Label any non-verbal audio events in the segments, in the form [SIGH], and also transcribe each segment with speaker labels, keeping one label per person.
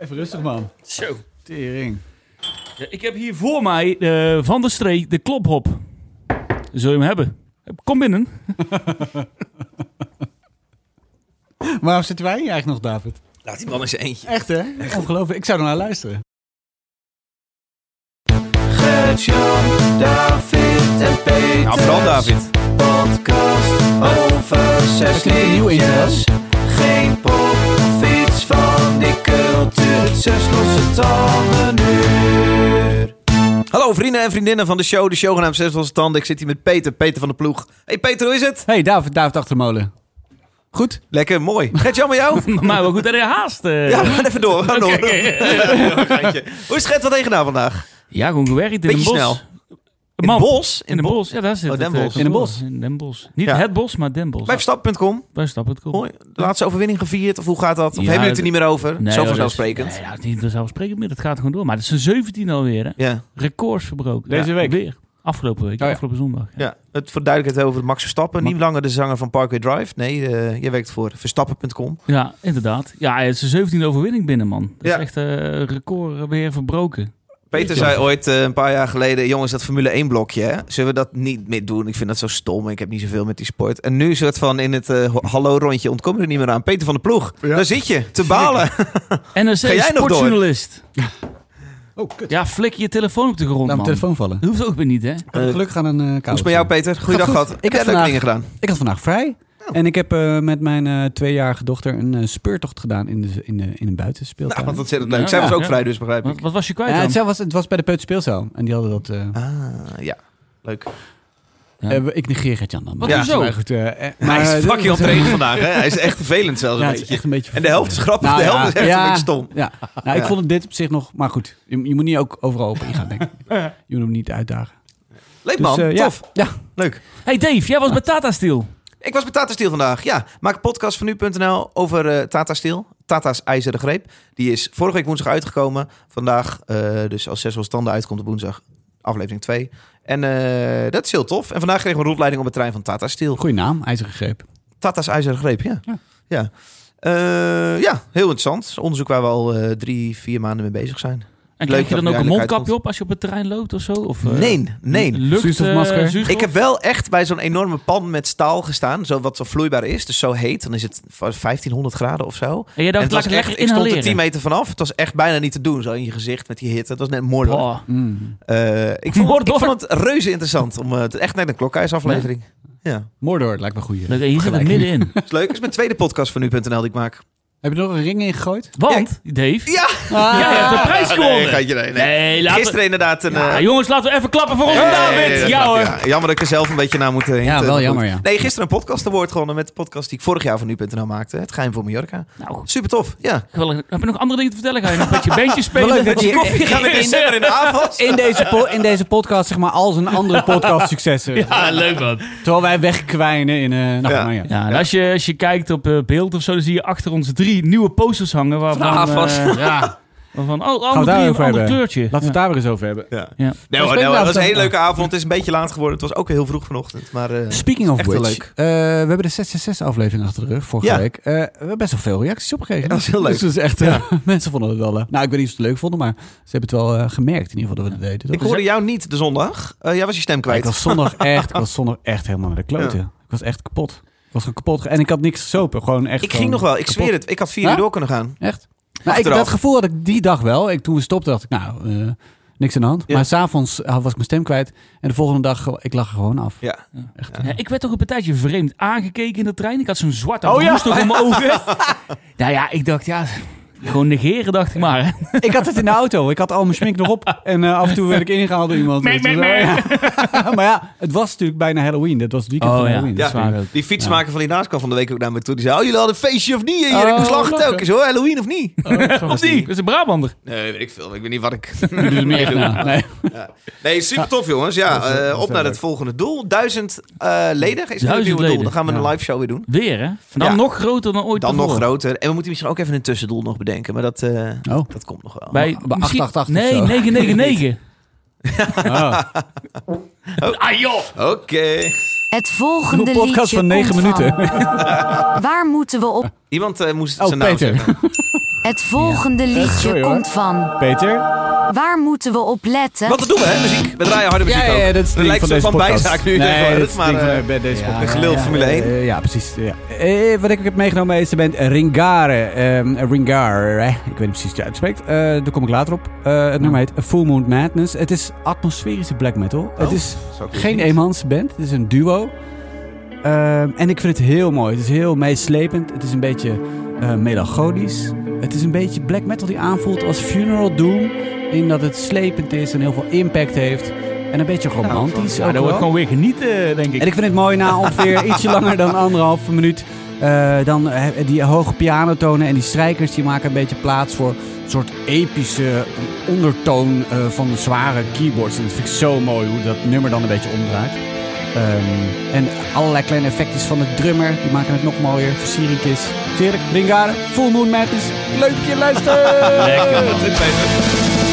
Speaker 1: Even rustig, man.
Speaker 2: Zo.
Speaker 1: Tering.
Speaker 2: Eh, Ik heb hier voor mij eh, van de streek de klophop. Zul je hem hebben? Kom binnen. [LAUGHS]
Speaker 1: Waarom zitten wij hier eigenlijk nog, David?
Speaker 3: Laat die man eens eentje.
Speaker 1: Echt, hè? Ongelooflijk. Ik zou er naar luisteren.
Speaker 4: Gert-Jan, David en Peter.
Speaker 3: Nou, vooral David.
Speaker 4: Podcast over zes
Speaker 1: Heb je een nieuw
Speaker 4: liedjes.
Speaker 1: intro?
Speaker 4: Geen pop, fiets van die cultuur. Zes losse tanden uur.
Speaker 3: Hallo vrienden en vriendinnen van de show. De show genaamd Zes Losse Tanden. Ik zit hier met Peter, Peter van de Ploeg. Hey Peter, hoe is het?
Speaker 1: hey, David, David Achtermolen. Goed?
Speaker 3: Lekker, mooi. Gaat jou met
Speaker 2: [LAUGHS]
Speaker 3: jou?
Speaker 2: Maar wel goed dat je haast. eh.
Speaker 3: Ja, we gaan even door. We gaan door. Ja, geintje. Hoe is het? Wat heb je gedaan vandaag?
Speaker 2: Ja, gewoon gewerkt in
Speaker 3: Beetje
Speaker 2: een bos.
Speaker 3: snel. In
Speaker 2: Man,
Speaker 3: het bos?
Speaker 2: In een bos, ja, daar
Speaker 3: Oh,
Speaker 2: zit het,
Speaker 3: Den
Speaker 2: eh,
Speaker 3: Bosch.
Speaker 2: kantoor.
Speaker 1: In een bos.
Speaker 2: In Den Bosch. Niet
Speaker 3: Ja.
Speaker 2: het bos, maar Den Bosch.
Speaker 3: Bij Verstappen.com.
Speaker 2: Bij Stappen het
Speaker 3: Mooi. De laatste overwinning gevierd. Of hoe gaat dat? Of
Speaker 2: Ja,
Speaker 3: hebben jullie het er
Speaker 2: dat-
Speaker 3: niet meer over? Zo
Speaker 2: Nee,
Speaker 3: vanzelfsprekend.
Speaker 2: ja, het is niet vanzelfsprekend meer. Dat gaat gewoon door. Maar het is een 17 alweer, hè?
Speaker 3: Ja.
Speaker 2: Records verbroken.
Speaker 1: Deze
Speaker 2: Ja,
Speaker 1: week?
Speaker 2: Weer. Afgelopen week,
Speaker 1: Oh, ja.
Speaker 2: afgelopen zondag.
Speaker 3: Ja, het verduidelijkt over Max Verstappen.
Speaker 2: Ma-
Speaker 3: Niet langer de zanger van Parkway Drive. Nee, eh, jij werkt voor Verstappen.com.
Speaker 2: Ja, inderdaad. Ja, het is een 17e overwinning binnen, man. Dat
Speaker 3: Ja.
Speaker 2: is echt eh record weer verbroken.
Speaker 3: Peter
Speaker 2: Ja.
Speaker 3: zei ooit eh, een paar jaar geleden: jongens, dat Formule 1 blokje, hè? zullen we dat niet meer doen? Ik vind dat zo stom. Ik heb niet zoveel met die sport. En nu, soort van in het eh, ho- hallo rondje, ontkom je er niet meer aan. Peter van de Ploeg, daar zit je te balen.
Speaker 2: NRC
Speaker 3: Ga jij nog door?
Speaker 2: sportjournalist.
Speaker 1: Oh, kut.
Speaker 2: Ja, flik je telefoon op de grond,
Speaker 1: Laat
Speaker 2: man.
Speaker 1: mijn telefoon vallen.
Speaker 2: Dat hoeft ook weer niet, hè?
Speaker 3: Eh, hoe
Speaker 1: Gelukkig aan een eh
Speaker 3: is
Speaker 1: kabel.
Speaker 3: het met jou, Peter? Goeiedag,
Speaker 1: goed.
Speaker 3: gehad.
Speaker 1: Ik
Speaker 3: Heb
Speaker 1: heb
Speaker 3: jij leuke
Speaker 1: vandaag-
Speaker 3: dingen gedaan?
Speaker 1: Ik had vandaag vrij.
Speaker 3: Oh.
Speaker 1: En ik heb eh, met mijn eh, tweejarige dochter een eh, speurtocht gedaan in, de, in, de, in een buitenspeeltuin.
Speaker 3: Nou, wat ontzettend leuk.
Speaker 2: Ja,
Speaker 3: Zij was
Speaker 2: ja.
Speaker 3: ook
Speaker 2: Ja.
Speaker 3: vrij, dus begrijp ik.
Speaker 2: Wat, wat was je kwijt
Speaker 1: Ja,
Speaker 2: dan?
Speaker 1: het, was, het was bij de peuterspeelzaal. En die hadden dat... eh,
Speaker 3: Ah, ja. Leuk.
Speaker 2: Ja.
Speaker 1: eh, ik negeer het Jan dan.
Speaker 2: Wat,
Speaker 1: Ja.
Speaker 2: hoezo?
Speaker 1: Maar goed, eh, eh, maar,
Speaker 3: Maar hij
Speaker 1: eh,
Speaker 3: is fucking
Speaker 1: [LAUGHS]
Speaker 3: aan
Speaker 1: dat-
Speaker 3: het trainen vandaag. Hè? Hij is
Speaker 1: [LAUGHS]
Speaker 3: echt vervelend zelfs
Speaker 1: Ja,
Speaker 3: een
Speaker 1: het is
Speaker 3: beetje.
Speaker 1: echt een beetje
Speaker 3: En de helft is grappig,
Speaker 1: Nou
Speaker 3: de
Speaker 1: ja,
Speaker 3: helft is echt
Speaker 1: ja.
Speaker 3: een beetje stom.
Speaker 1: Ja, nou, ik
Speaker 3: Ja.
Speaker 1: vond het dit op zich nog, maar goed, je, je moet niet ook overal op ingaan, denk
Speaker 2: [LAUGHS]
Speaker 1: ik. Je moet hem niet uitdagen.
Speaker 3: Leuk
Speaker 1: Dus,
Speaker 3: man,
Speaker 1: eh, ja.
Speaker 3: tof.
Speaker 1: Ja.
Speaker 3: Leuk.
Speaker 2: Hey Dave, jij was bij Tata Steel.
Speaker 3: Ik was bij Tata Steel vandaag. Ja, maak een podcast van nu.nl over eh, Tata Steel. Tata's IJzeren Greep. Die is vorige week woensdag uitgekomen. Vandaag, eh, dus als zes wel standen uitkomt op woensdag, aflevering 2. En eh, dat is heel tof. En vandaag kregen we een rondleiding op het trein van Tata Steel.
Speaker 1: Goeie naam, ijzeren greep.
Speaker 3: Tata's IJzeren Greep, ja. Ja, ja. Eh, ja heel interessant. Onderzoek waar we al eh, drie, vier maanden mee bezig zijn.
Speaker 2: En
Speaker 3: Leuk
Speaker 2: krijg je
Speaker 3: dat
Speaker 2: dan
Speaker 3: het
Speaker 2: ook een
Speaker 3: duidelijk uitkomt.
Speaker 2: mondkapje op als je op het terrein loopt of zo? Of, eh,
Speaker 3: Nee, nee.
Speaker 2: Lucht,
Speaker 1: Zuurstofmasker?
Speaker 2: eh, zuurstof?
Speaker 3: Ik heb wel echt bij zo'n enorme pan met staal gestaan. Zo wat zo vloeibaar is. Dus zo heet. Dan is het 1500 graden of zo.
Speaker 2: En jij
Speaker 3: En
Speaker 2: dacht,
Speaker 3: het
Speaker 2: Oh, laat ik
Speaker 3: was echt-
Speaker 2: lekker
Speaker 3: ik stond er
Speaker 2: inhaleren.
Speaker 3: 10 meter vanaf. Het was echt bijna niet te doen. Zo in je gezicht met die hitte. Het was net moordelijk.
Speaker 2: Oh,
Speaker 1: Mm.
Speaker 3: Eh, ik, vond,
Speaker 2: Moordor.
Speaker 3: ik vond het reuze interessant. Om, eh, het echt net een klokhuisaflevering. Ja.
Speaker 1: Mordor, lijkt me goed.
Speaker 2: leuk, hier zit het
Speaker 3: [LAUGHS]
Speaker 2: middenin.
Speaker 3: Is leuk. Het is mijn tweede podcast van nu.nl die ik maak.
Speaker 1: Heb je er nog een ring in
Speaker 2: [LAUGHS]
Speaker 1: gegooid?
Speaker 2: Want, Dave,
Speaker 3: Ja!
Speaker 2: jij hebt de prijs
Speaker 3: Nee,
Speaker 2: gewonnen.
Speaker 3: geintje, nee, nee.
Speaker 2: Nee, laten we...
Speaker 3: Gisteren inderdaad een... eh,
Speaker 2: Ja, jongens, laten we even klappen voor onze
Speaker 3: nee, nee, nee,
Speaker 2: David.
Speaker 3: dat
Speaker 2: Ja
Speaker 3: gaat-
Speaker 2: hoor.
Speaker 3: Jammer dat ik er zelf een beetje naar moet eh, hinten.
Speaker 1: wel
Speaker 3: Goed.
Speaker 1: jammer, ja.
Speaker 3: Nee, gisteren een podcast award gewonnen met de podcast die ik vorig jaar van nu.nl maakte. Het geheim voor Mallorca.
Speaker 2: Nou,
Speaker 3: Super tof, ja.
Speaker 2: geweldig. Heb je nog andere dingen te vertellen? Ga je nog met je
Speaker 3: [LAUGHS]
Speaker 2: bandje
Speaker 1: Wel
Speaker 2: spelen?
Speaker 1: leuk dat je-
Speaker 3: Koffie [LAUGHS] gaan in december in de avond.
Speaker 1: In deze, po- in deze podcast, zeg maar, als een andere podcast successen.
Speaker 2: [LAUGHS] Ja, leuk man.
Speaker 1: Terwijl wij wegkwijnen in... eh nou,
Speaker 3: Ja.
Speaker 1: nou ja.
Speaker 2: Ja, en als je, als je kijkt op eh, beeld of zo, dan zie je achter ons drie nieuwe posters hangen. Waarvan,
Speaker 3: Van AFAS.
Speaker 2: eh, [LAUGHS] ja, waarvan oh,
Speaker 1: het
Speaker 2: alle drie een
Speaker 1: daarover
Speaker 2: ander
Speaker 1: hebben?
Speaker 2: kleurtje.
Speaker 1: Laten we het daar weer eens over hebben.
Speaker 3: Ja.
Speaker 2: Ja.
Speaker 3: Nee, hoor, nee, hoor, het was een hele leuke avond. Het is een beetje laat geworden. Het was ook heel vroeg vanochtend. Maar eh,
Speaker 1: Speaking of
Speaker 3: Echt wel
Speaker 1: which,
Speaker 3: leuk.
Speaker 1: eh, we hebben de 666 aflevering achter de rug vorige
Speaker 3: Ja.
Speaker 1: week. Eh, we hebben best wel veel reacties opgekregen.
Speaker 3: dat is heel leuk.
Speaker 1: Dus dat is echt, eh, [LAUGHS] mensen vonden het wel... eh, nou, ik weet niet of ze het leuk vonden, maar ze hebben het wel eh, gemerkt in ieder geval dat we het deden.
Speaker 3: ik hoorde jou niet de zondag. Eh, jij was je stem
Speaker 1: Ja,
Speaker 3: kwijt.
Speaker 1: Ik was
Speaker 3: [LAUGHS]
Speaker 1: zondag echt, ik was zondag echt helemaal naar de kloten. Ik was echt kapot. Ik was gewoon kapot. En ik had niks gesopen. Gewoon echt.
Speaker 3: ik
Speaker 1: gewoon
Speaker 3: ging nog wel. Ik
Speaker 1: kapot.
Speaker 3: zweer het. Ik had vier
Speaker 1: Ja?
Speaker 3: uur door kunnen gaan.
Speaker 1: Echt? Nou, ik,
Speaker 3: Achteraf.
Speaker 1: dat gevoel had ik die dag wel. Ik, toen we stopten dacht ik, nou, eh, niks aan de hand.
Speaker 3: Ja.
Speaker 1: Maar s'avonds eh, was ik mijn stem kwijt. En de volgende dag, eh, ik lag er gewoon af.
Speaker 3: Ja.
Speaker 1: Echt.
Speaker 2: Ja, ik werd toch op een tijdje vreemd aangekeken in de trein. Ik had zo'n zwarte
Speaker 1: Oh
Speaker 2: oh,
Speaker 1: ja.
Speaker 2: om mijn ogen. nou ja, ik dacht, ja, gewoon negeren dacht ik maar. hè.
Speaker 1: ik had het in de auto. Ik had al mijn smink nog op. En eh, af en toe werd ik ingehaald door iemand.
Speaker 2: Merk, merk,
Speaker 1: Dus, eh, ja. [LAUGHS] maar ja, het was natuurlijk bijna Halloween. Dat was het weekend
Speaker 2: Oh
Speaker 1: van
Speaker 2: ja.
Speaker 1: Halloween.
Speaker 2: Ja.
Speaker 1: Dus, eh,
Speaker 2: Zwaar ook.
Speaker 3: Die fietsmaker van die naast kwam van de week ook naar me toe. Die zei, oh, jullie hadden een feestje of niet? Hier, ik
Speaker 1: Oh,
Speaker 3: moest lachen
Speaker 1: lachen.
Speaker 3: telkens hoor. Halloween of
Speaker 1: [LAUGHS]
Speaker 3: niet?
Speaker 2: Of niet? Dat is een Brabander.
Speaker 3: Nee, weet ik veel. Ik weet niet wat ik...
Speaker 1: nu doe je
Speaker 3: [LAUGHS]
Speaker 1: meer na. Nee.
Speaker 3: Nee, super tof jongens. Ja,
Speaker 1: Dat is,
Speaker 3: eh,
Speaker 1: dat is
Speaker 3: op
Speaker 1: wel
Speaker 3: naar
Speaker 1: leuk.
Speaker 3: het volgende doel. Duizend eh leden is het
Speaker 2: Duizend
Speaker 3: nieuwe doel.
Speaker 2: leden.
Speaker 3: Dan gaan we een
Speaker 1: Ja.
Speaker 3: live show weer doen.
Speaker 2: Weer, hè? En dan
Speaker 3: Ja.
Speaker 2: nog groter dan ooit
Speaker 3: Dan nog
Speaker 2: tevoren.
Speaker 3: groter. En we moeten misschien ook even een tussendoel nog bedenken. Maar dat, eh,
Speaker 1: Oh.
Speaker 3: dat komt nog wel.
Speaker 2: Bij,
Speaker 1: Bij
Speaker 2: misschien-
Speaker 1: 888 of
Speaker 2: Nee,
Speaker 1: zo.
Speaker 2: 999.
Speaker 1: Oh.
Speaker 2: ah joh!
Speaker 3: Oké.
Speaker 5: Het volgende
Speaker 1: Een podcast
Speaker 5: liedje
Speaker 1: van negen
Speaker 5: komt
Speaker 1: minuten.
Speaker 5: van- Waar moeten we op?
Speaker 3: Iemand eh, moest
Speaker 1: Oh,
Speaker 3: zijn naam
Speaker 6: [LAUGHS]
Speaker 1: Peter.
Speaker 3: zeggen.
Speaker 5: Het volgende liedje
Speaker 6: sorry, hoor.
Speaker 5: komt van.
Speaker 6: Peter?
Speaker 5: Waar moeten we op letten?
Speaker 3: Want dat doen we, hè, muziek. We draaien harde muziek
Speaker 6: Ja, ja,
Speaker 3: ook.
Speaker 6: dat is het ding
Speaker 3: lijkt
Speaker 6: van
Speaker 3: een soort van
Speaker 6: deze podcast.
Speaker 3: bijzaak nu.
Speaker 6: Nee,
Speaker 3: zeg maar,
Speaker 6: dat is het ding
Speaker 3: maar,
Speaker 6: van
Speaker 3: eh,
Speaker 6: eh, bij deze
Speaker 3: ja,
Speaker 6: podcast.
Speaker 3: gelul Formule 1.
Speaker 1: Eh, ja, precies. Ja. Eh, wat ik ook heb genomen is de band Ringare. ehm Ringare. Ik weet niet precies hoe je het uitspreekt. Eh, daar kom ik later op. Eh, het nummer heet A Full Moon Madness. Het is atmosferische black metal.
Speaker 6: Oh.
Speaker 1: het is
Speaker 3: Oh, Zou ik
Speaker 1: geen
Speaker 3: niet-
Speaker 1: eenmans band. Het is een duo. Ehm, en ik vind het heel mooi. Het is heel meeslepend. Het is een beetje eh, melancholisch. Het is een beetje black metal die aanvoelt als funeral doom. In dat het slepend is en heel veel impact heeft. En een beetje romantisch.
Speaker 2: Ja,
Speaker 1: ook
Speaker 2: dat wordt
Speaker 1: wel.
Speaker 2: gewoon weer genieten, denk ik.
Speaker 1: En ik vind het mooi na ongeveer ietsje langer dan anderhalve minuut. eh, dan eh, die hoge pianotonen en die strijkers die maken een beetje plaats voor een soort epische ondertoon eh, van de zware keyboards. En dat vind ik zo mooi hoe dat nummer dan een beetje omdraait. Ehm, en allerlei kleine effectjes van de drummer, die maken het nog mooier. Versieringjes. Zeerlijk, Ringaren, Full Moon Madness. Leuk dat je
Speaker 3: [LAUGHS]
Speaker 1: luistert!
Speaker 2: Lekker, man.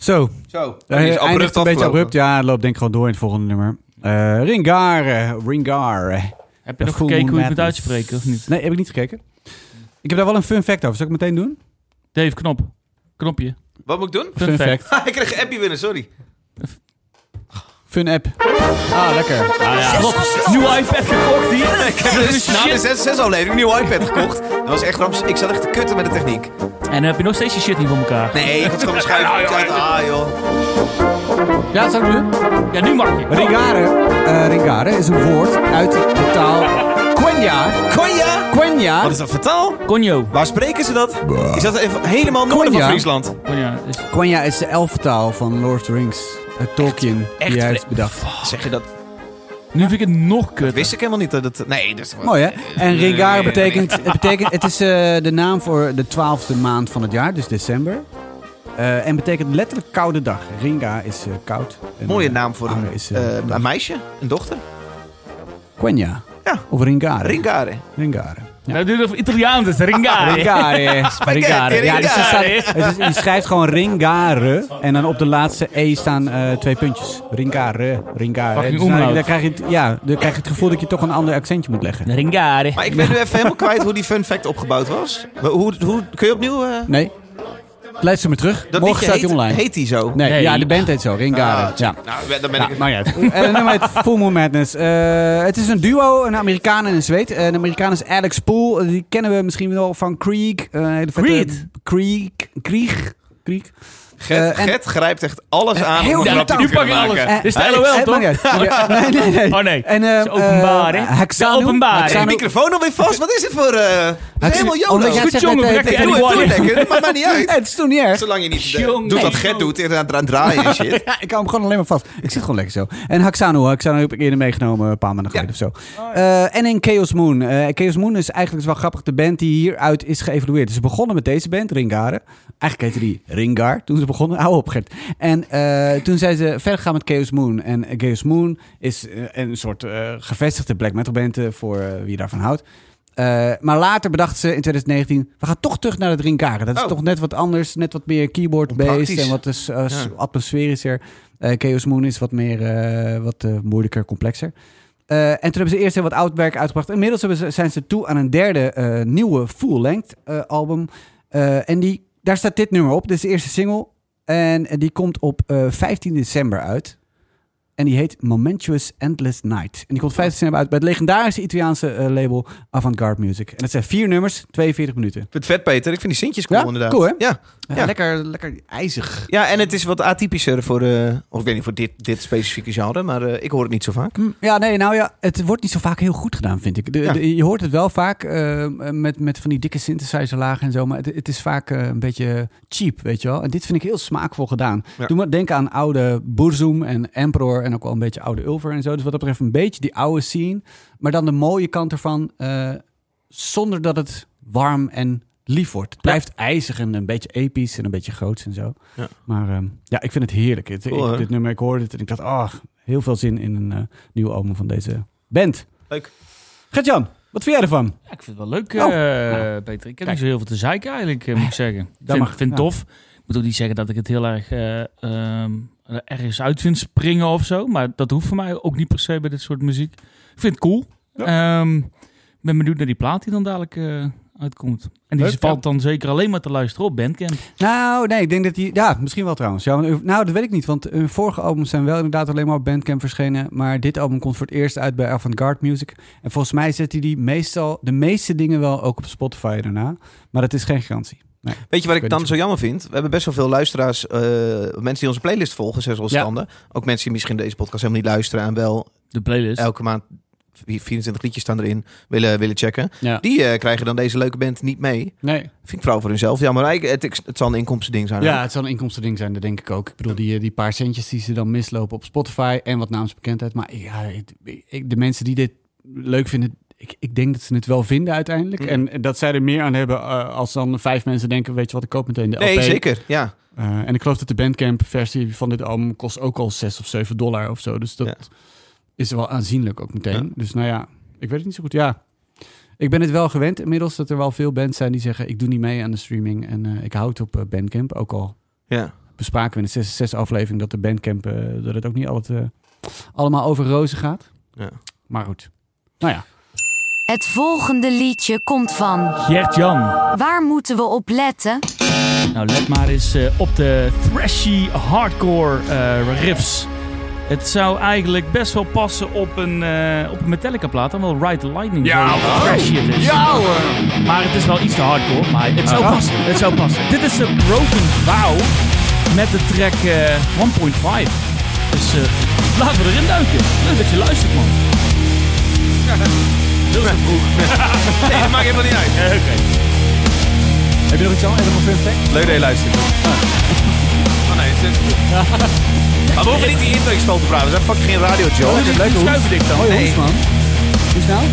Speaker 1: Zo,
Speaker 3: Zo,
Speaker 1: eh,
Speaker 3: die is
Speaker 1: eindigt
Speaker 3: abrupt
Speaker 1: een beetje
Speaker 3: afgelopen.
Speaker 1: abrupt. Ja, het loopt denk ik gewoon door in het volgende nummer. Eh, Ringar, eh, Ringar.
Speaker 2: Heb je
Speaker 1: The
Speaker 2: nog
Speaker 1: Full
Speaker 2: gekeken hoe je het moet
Speaker 1: Madness.
Speaker 2: uitspreken of niet?
Speaker 1: Nee, heb ik niet gekeken. Ik heb daar wel een fun fact over. Zal ik het meteen doen?
Speaker 2: Dave, knop. Knopje.
Speaker 3: Wat moet ik doen?
Speaker 2: Fun fact.
Speaker 3: [LAUGHS] ik kreeg een appje binnen,
Speaker 6: [LAUGHS]
Speaker 3: sorry.
Speaker 1: Fun app. Ah, lekker.
Speaker 2: Klopt. Nieuwe iPad gekocht hier.
Speaker 3: Ik heb dus na de 6 aflevering een nieuwe iPad gekocht. Dat was echt ramps. Ik zat echt te kutten met de techniek.
Speaker 2: En dan heb je nog steeds die shit niet voor elkaar.
Speaker 3: Nee, ik had gewoon schuiven. Ik dacht, ah joh.
Speaker 1: Ja, dat zou ik doen.
Speaker 2: Ja, nu mag je.
Speaker 1: Ringare, eh, Ringare is een woord uit de taal Quenya.
Speaker 3: Konya!
Speaker 1: Quenya.
Speaker 3: Wat is dat voor taal?
Speaker 2: Conjo.
Speaker 3: Waar spreken ze dat? Is dat even helemaal noorden
Speaker 1: Konya.
Speaker 3: van Friesland?
Speaker 2: Conjo. is-
Speaker 1: Quenya is de elfentaal van Lord of the Rings. Het Tolkien die hij heeft bedacht.
Speaker 3: Zeg je dat?
Speaker 2: Nu vind ik het nog kut.
Speaker 3: Wist ik helemaal niet. Dat, het- nee, dat is gewoon...
Speaker 1: Mooi hè? En Ringare betekent, het, betekent, het is eh, de naam voor de twaalfde maand van het jaar, dus december. Eh, en betekent letterlijk koude dag. Ringa is eh, koud. En,
Speaker 3: Mooie
Speaker 1: eh,
Speaker 3: naam voor een,
Speaker 1: Are is, eh,
Speaker 3: eh, een meisje, een dochter.
Speaker 1: Quenya.
Speaker 3: Ja.
Speaker 1: Of Ringare.
Speaker 3: Ringare.
Speaker 1: Ringare. Ja.
Speaker 2: Nou, dit is Italiaans, dus Ringari.
Speaker 1: Ah,
Speaker 3: [LAUGHS]
Speaker 1: Ringare. Ringare. Ja, dus je,
Speaker 2: Ringare.
Speaker 1: staat, het is- je schrijft gewoon Ringare. En dan op de laatste E staan eh, twee puntjes. Ringare. Ringare.
Speaker 2: Fucking
Speaker 1: nou,
Speaker 2: omlaut.
Speaker 1: dan, krijg je het, ja, dan krijg je het gevoel dat je toch een ander accentje moet leggen.
Speaker 2: Ringari.
Speaker 3: Maar ik ben nu even helemaal kwijt hoe die fun fact opgebouwd was. Hoe, hoe, kun je opnieuw... eh,
Speaker 1: Nee. Luister me terug.
Speaker 3: dat
Speaker 1: Morgen
Speaker 3: liedje
Speaker 1: staat hij
Speaker 3: heet,
Speaker 1: online.
Speaker 3: heet die zo?
Speaker 1: Nee,
Speaker 2: Nee.
Speaker 1: ja, de band heet zo. Ringare.
Speaker 3: Ah,
Speaker 1: ja.
Speaker 3: Nou, dan ben
Speaker 1: Ja,
Speaker 3: ik het.
Speaker 1: maar ja, het Eh, nummer heet Full Moon Madness. Eh, het is een duo, een Amerikaan en een Zweed. Eh, de Amerikaan is Alex Pool. Eh, die kennen we misschien wel van Creek. eh, een hele vette-
Speaker 2: Creed.
Speaker 1: Creek. Krieg. Krieg.
Speaker 3: Gert,
Speaker 1: Eh, en- Eh,
Speaker 3: Gert grijpt echt alles aan
Speaker 1: heel
Speaker 3: om een
Speaker 1: irritant.
Speaker 3: grapje
Speaker 2: Nu
Speaker 3: te
Speaker 2: pak je
Speaker 3: kunnen
Speaker 2: alles.
Speaker 3: maken.
Speaker 2: Dit is
Speaker 1: Hey,
Speaker 2: de LOL,
Speaker 1: hey,
Speaker 2: toch?
Speaker 1: maakt niet uit. Ja, nee, nee, nee.
Speaker 2: Oh, nee.
Speaker 1: En, eh,
Speaker 2: Het is openbaar, hè?
Speaker 1: eh, Haxanu.
Speaker 2: De openbaring.
Speaker 1: Haxanu-
Speaker 2: Hey,
Speaker 3: Microfoon alweer vast? Wat is het voor... eh het is
Speaker 1: Haxanu-
Speaker 3: helemaal YOLO.
Speaker 1: Omdat jij
Speaker 2: Goed,
Speaker 1: zegt
Speaker 2: jongen,
Speaker 1: dat het-
Speaker 2: brek je
Speaker 1: het-
Speaker 3: Doe het, doe
Speaker 2: Doe
Speaker 3: het
Speaker 2: het.
Speaker 3: lekker. Maakt maar
Speaker 1: [LAUGHS]
Speaker 3: niet uit.
Speaker 1: het is toch niet erg.
Speaker 3: Zolang je niet eh,
Speaker 2: Jongen.
Speaker 3: doet wat Gert doet. Eerder aan het draaien en shit.
Speaker 1: [LAUGHS] Ja, ik hou hem gewoon alleen maar vast. Ik zit gewoon lekker zo. En Haxano, Haxano heb ik eerder meegenomen, een paar maanden geleden of zo.
Speaker 3: Oh,
Speaker 1: Eh, en in Chaos Moon. Eh, Chaos Moon is eigenlijk is wel grappig de band die hieruit is geëvalueerd. Dus ze begonnen met deze band, Ringare. Eigenlijk heette die Ringar toen ze begonnen. Hou op, Gert. En eh, toen zijn ze verder gegaan met Chaos Moon. En eh, Chaos Moon is eh, een soort eh, gevestigde black metal band eh, voor eh, wie daarvan houdt. Eh, maar later bedachten ze in 2019, we gaan toch terug naar het Ringare. Dat is
Speaker 3: Oh.
Speaker 1: toch net wat anders, net wat meer keyboard-based
Speaker 3: Praktisch.
Speaker 1: en wat dus eh, s-
Speaker 3: Ja.
Speaker 1: atmosferischer. Eh, Chaos Moon is wat meer, eh, wat eh, moeilijker, complexer. Eh, en toen hebben ze eerst heel wat oud werk uitgebracht. Inmiddels hebben ze, zijn ze toe aan een derde eh, nieuwe full-length eh, album. Eh, en die, daar staat dit nummer op. Dit is de eerste single. En eh, die komt op eh, 15 december uit. En die heet Momentous Endless Night. En die komt 15 december uit bij het legendarische Italiaanse eh, label Avantgarde Music. En dat zijn vier nummers, 42 minuten.
Speaker 3: Het vet, Peter. Ik vind die Sintjes cool,
Speaker 1: Ja?
Speaker 3: inderdaad.
Speaker 1: Cool, hè?
Speaker 3: Ja. Ja.
Speaker 1: Lekker, lekker ijzig.
Speaker 3: ja, en het is wat atypischer voor... eh, of ik weet niet, voor dit, dit specifieke genre. Maar eh, ik hoor het niet zo vaak.
Speaker 1: Hm, Ja, nee, nou ja, het wordt niet zo vaak heel goed gedaan, vind ik. De-
Speaker 3: Ja.
Speaker 1: de- je hoort het wel vaak eh, met, met van die dikke synthesizerlagen en zo, maar het, het is vaak eh, een beetje cheap, weet je wel. En dit vind ik heel smaakvol gedaan.
Speaker 3: Ja.
Speaker 1: Doe maar denken aan oude Burzum en Emperor en ook wel een beetje oude Ulver en zo. Dus wat dat betreft een beetje die oude scene, maar dan de mooie kant ervan, eh, zonder dat het warm en lief wordt. Het blijft ijzig en een beetje episch en een beetje groots en zo.
Speaker 3: Ja.
Speaker 1: Maar ehm, ja, ik vind het heerlijk. Het,
Speaker 3: Cool,
Speaker 1: ik-
Speaker 3: hè?
Speaker 1: dit nummer, ik hoorde het en ik dacht, ah, heel veel zin in een eh, nieuw album van deze band.
Speaker 3: Leuk.
Speaker 1: Gert-Jan, wat vind jij ervan?
Speaker 2: Ja, ik vind het wel leuk,
Speaker 1: Oh.
Speaker 2: eh, Peter. Ik heb niet zo heel veel te zeiken eigenlijk, eh, moet ik zeggen. Ik vind,
Speaker 1: mag.
Speaker 2: vind het
Speaker 1: Ja.
Speaker 2: tof. Ik moet ook niet zeggen dat ik het heel erg eh, ehm, ergens uit vind springen of zo. Maar dat hoeft voor mij ook niet per se bij dit soort muziek. Ik vind het cool. Ehm, Ik ben benieuwd naar die plaat die dan dadelijk eh, uitkomt. En die
Speaker 1: Leuk,
Speaker 2: valt dan zeker alleen maar te luisteren op Bandcamp.
Speaker 1: Nou, nee, ik denk dat die... Ja, misschien wel trouwens. Ja, want- nou, dat weet ik niet, want hun vorige albums zijn wel inderdaad alleen maar op Bandcamp verschenen. Maar dit album komt voor het eerst uit bij Avantgarde Music. En volgens mij zet hij die meestal, de meeste dingen wel ook op Spotify daarna. Maar dat is geen garantie.
Speaker 3: Weet je wat ik,
Speaker 1: weet
Speaker 3: dan
Speaker 1: niet
Speaker 3: zo jammer vind? We hebben best wel veel luisteraars, eh, mensen die onze playlist volgen, zes al
Speaker 2: Ja.
Speaker 3: standen. Ook mensen die misschien deze podcast helemaal niet luisteren en wel
Speaker 2: De
Speaker 1: Dus-
Speaker 2: playlist.
Speaker 3: elke maand 24 liedjes staan erin willen, willen checken.
Speaker 1: Ja.
Speaker 3: Die eh, krijgen dan deze leuke band niet mee.
Speaker 1: Nee,
Speaker 3: Vind ik vooral voor hunzelf. Ja, maar ik- het, ik- het zal een inkomstending zijn.
Speaker 1: ja, het zal een inkomstending zijn, dat denk ik ook. Ik bedoel, die, eh, die paar centjes die ze dan mislopen op Spotify en wat naamsbekendheid. Maar ja, het- ik- de mensen die dit leuk vinden, ik, ik denk dat ze het wel vinden uiteindelijk.
Speaker 3: Mm.
Speaker 1: En dat zij er meer aan hebben eh, als dan vijf mensen denken, weet je wat, ik koop meteen de
Speaker 3: Nee,
Speaker 1: LP.
Speaker 3: zeker. Ja.
Speaker 1: Eh, en ik geloof dat de Bandcamp versie van dit album kost ook al 6 of 7 dollar of zo. Dus dat
Speaker 3: Ja.
Speaker 1: is wel aanzienlijk ook meteen.
Speaker 3: Ja.
Speaker 1: Dus nou ja, ik weet het niet zo goed. Ja, ik ben het wel gewend inmiddels dat er wel veel bands zijn die zeggen... ik doe niet mee aan de streaming en eh, ik houd op eh, Bandcamp. Ook al
Speaker 3: ja.
Speaker 1: bespraken we in de 66-aflevering dat de bandcamp, eh, dat het ook niet altijd eh, allemaal over rozen gaat.
Speaker 3: Ja.
Speaker 1: Maar goed. Nou ja.
Speaker 5: Het volgende liedje komt van.
Speaker 2: Gert-Jan.
Speaker 5: Waar moeten we op letten?
Speaker 2: Nou, let maar eens eh, op de thrashy hardcore eh, riffs. Het zou eigenlijk best wel passen op een, eh, op een Metallica plaat. Dan wel Ride the Lightning. Ja, thrashy het is. Ja Maar het is wel iets te hardcore. Maar het zou passen. Het zou passen. Dit is de Broken Vow met de track eh 1.5. Dus eh, laten we erin duiken. Leuk dat je luistert, man. Heel te vroeg.
Speaker 3: Nee, dat maakt helemaal niet uit.
Speaker 2: Eh, Oké.
Speaker 1: Heb je nog iets aan? Helemaal fun fact?
Speaker 3: Leuk dat je luistert. Oh nee, het is... [LAUGHS] Maar we hoeven niet die intakeskool te praten. Dat is fucking geen radio, Joe.
Speaker 1: is een leuke hoes.
Speaker 2: Schuiven dik dan.
Speaker 1: Hoi,
Speaker 3: Nee.
Speaker 1: hoes, man. Hoe is het nou?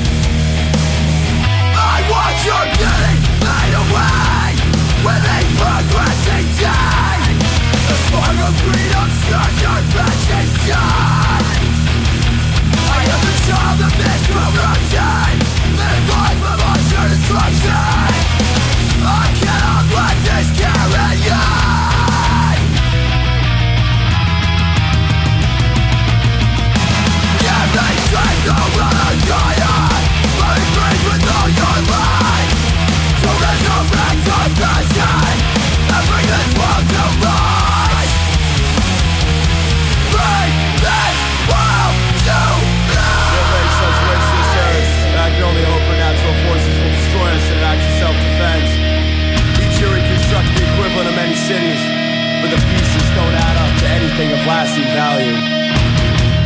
Speaker 6: Cities, but the pieces don't add up to anything of lasting value.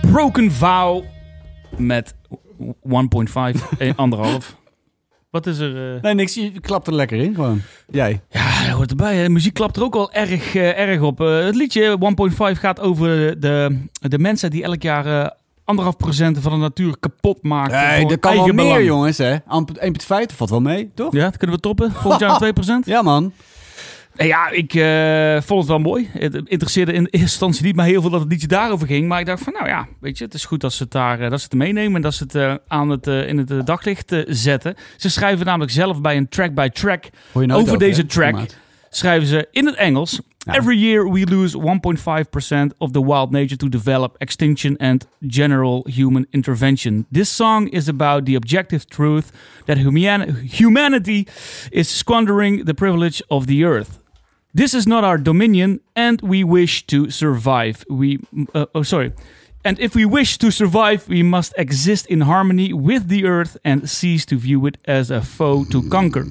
Speaker 2: Broken Vow met 1.5, eh, anderhalf. Wat is er? eh?
Speaker 1: Nee, niks. Je klapt er lekker in, gewoon. Jij.
Speaker 2: Ja, dat hoort erbij. Hè. Muziek klapt er ook wel erg, eh, erg op. Eh, het liedje 1.5 gaat over de, de mensen die elk jaar eh, anderhalf procent van de natuur kapot maken.
Speaker 1: Nee,
Speaker 2: voor
Speaker 1: dat kan wel
Speaker 2: eigen
Speaker 1: meer,
Speaker 2: belang.
Speaker 1: jongens, hè. 1,5 valt wel mee, toch?
Speaker 2: Ja, dat kunnen we toppen.
Speaker 1: [LAUGHS]
Speaker 2: Volgend jaar 2 procent.
Speaker 1: Ja, man.
Speaker 2: Ja, ik eh, vond het wel mooi. Het interesseerde in eerste instantie niet mij heel veel dat het liedje daarover ging. Maar ik dacht van, nou ja, weet je, het is goed dat ze het, daar, eh, dat ze het meenemen en dat ze het, eh, aan het eh, in het eh, daglicht eh, zetten. Ze schrijven namelijk zelf bij een track-by-track
Speaker 1: Hoor je nooit
Speaker 2: over, deze
Speaker 1: hè,
Speaker 2: track.
Speaker 1: formaat.
Speaker 2: schrijven ze in het Engels.
Speaker 1: Ja.
Speaker 2: Every year we lose 1.5% of the wild nature to develop, extinction and general human intervention. This song is about the objective truth that human humanity is squandering the privilege of the earth. This is not our dominion and we wish to survive. We uh, oh sorry. And if we wish to survive, we must exist in harmony with the earth and cease to view it as a foe to conquer.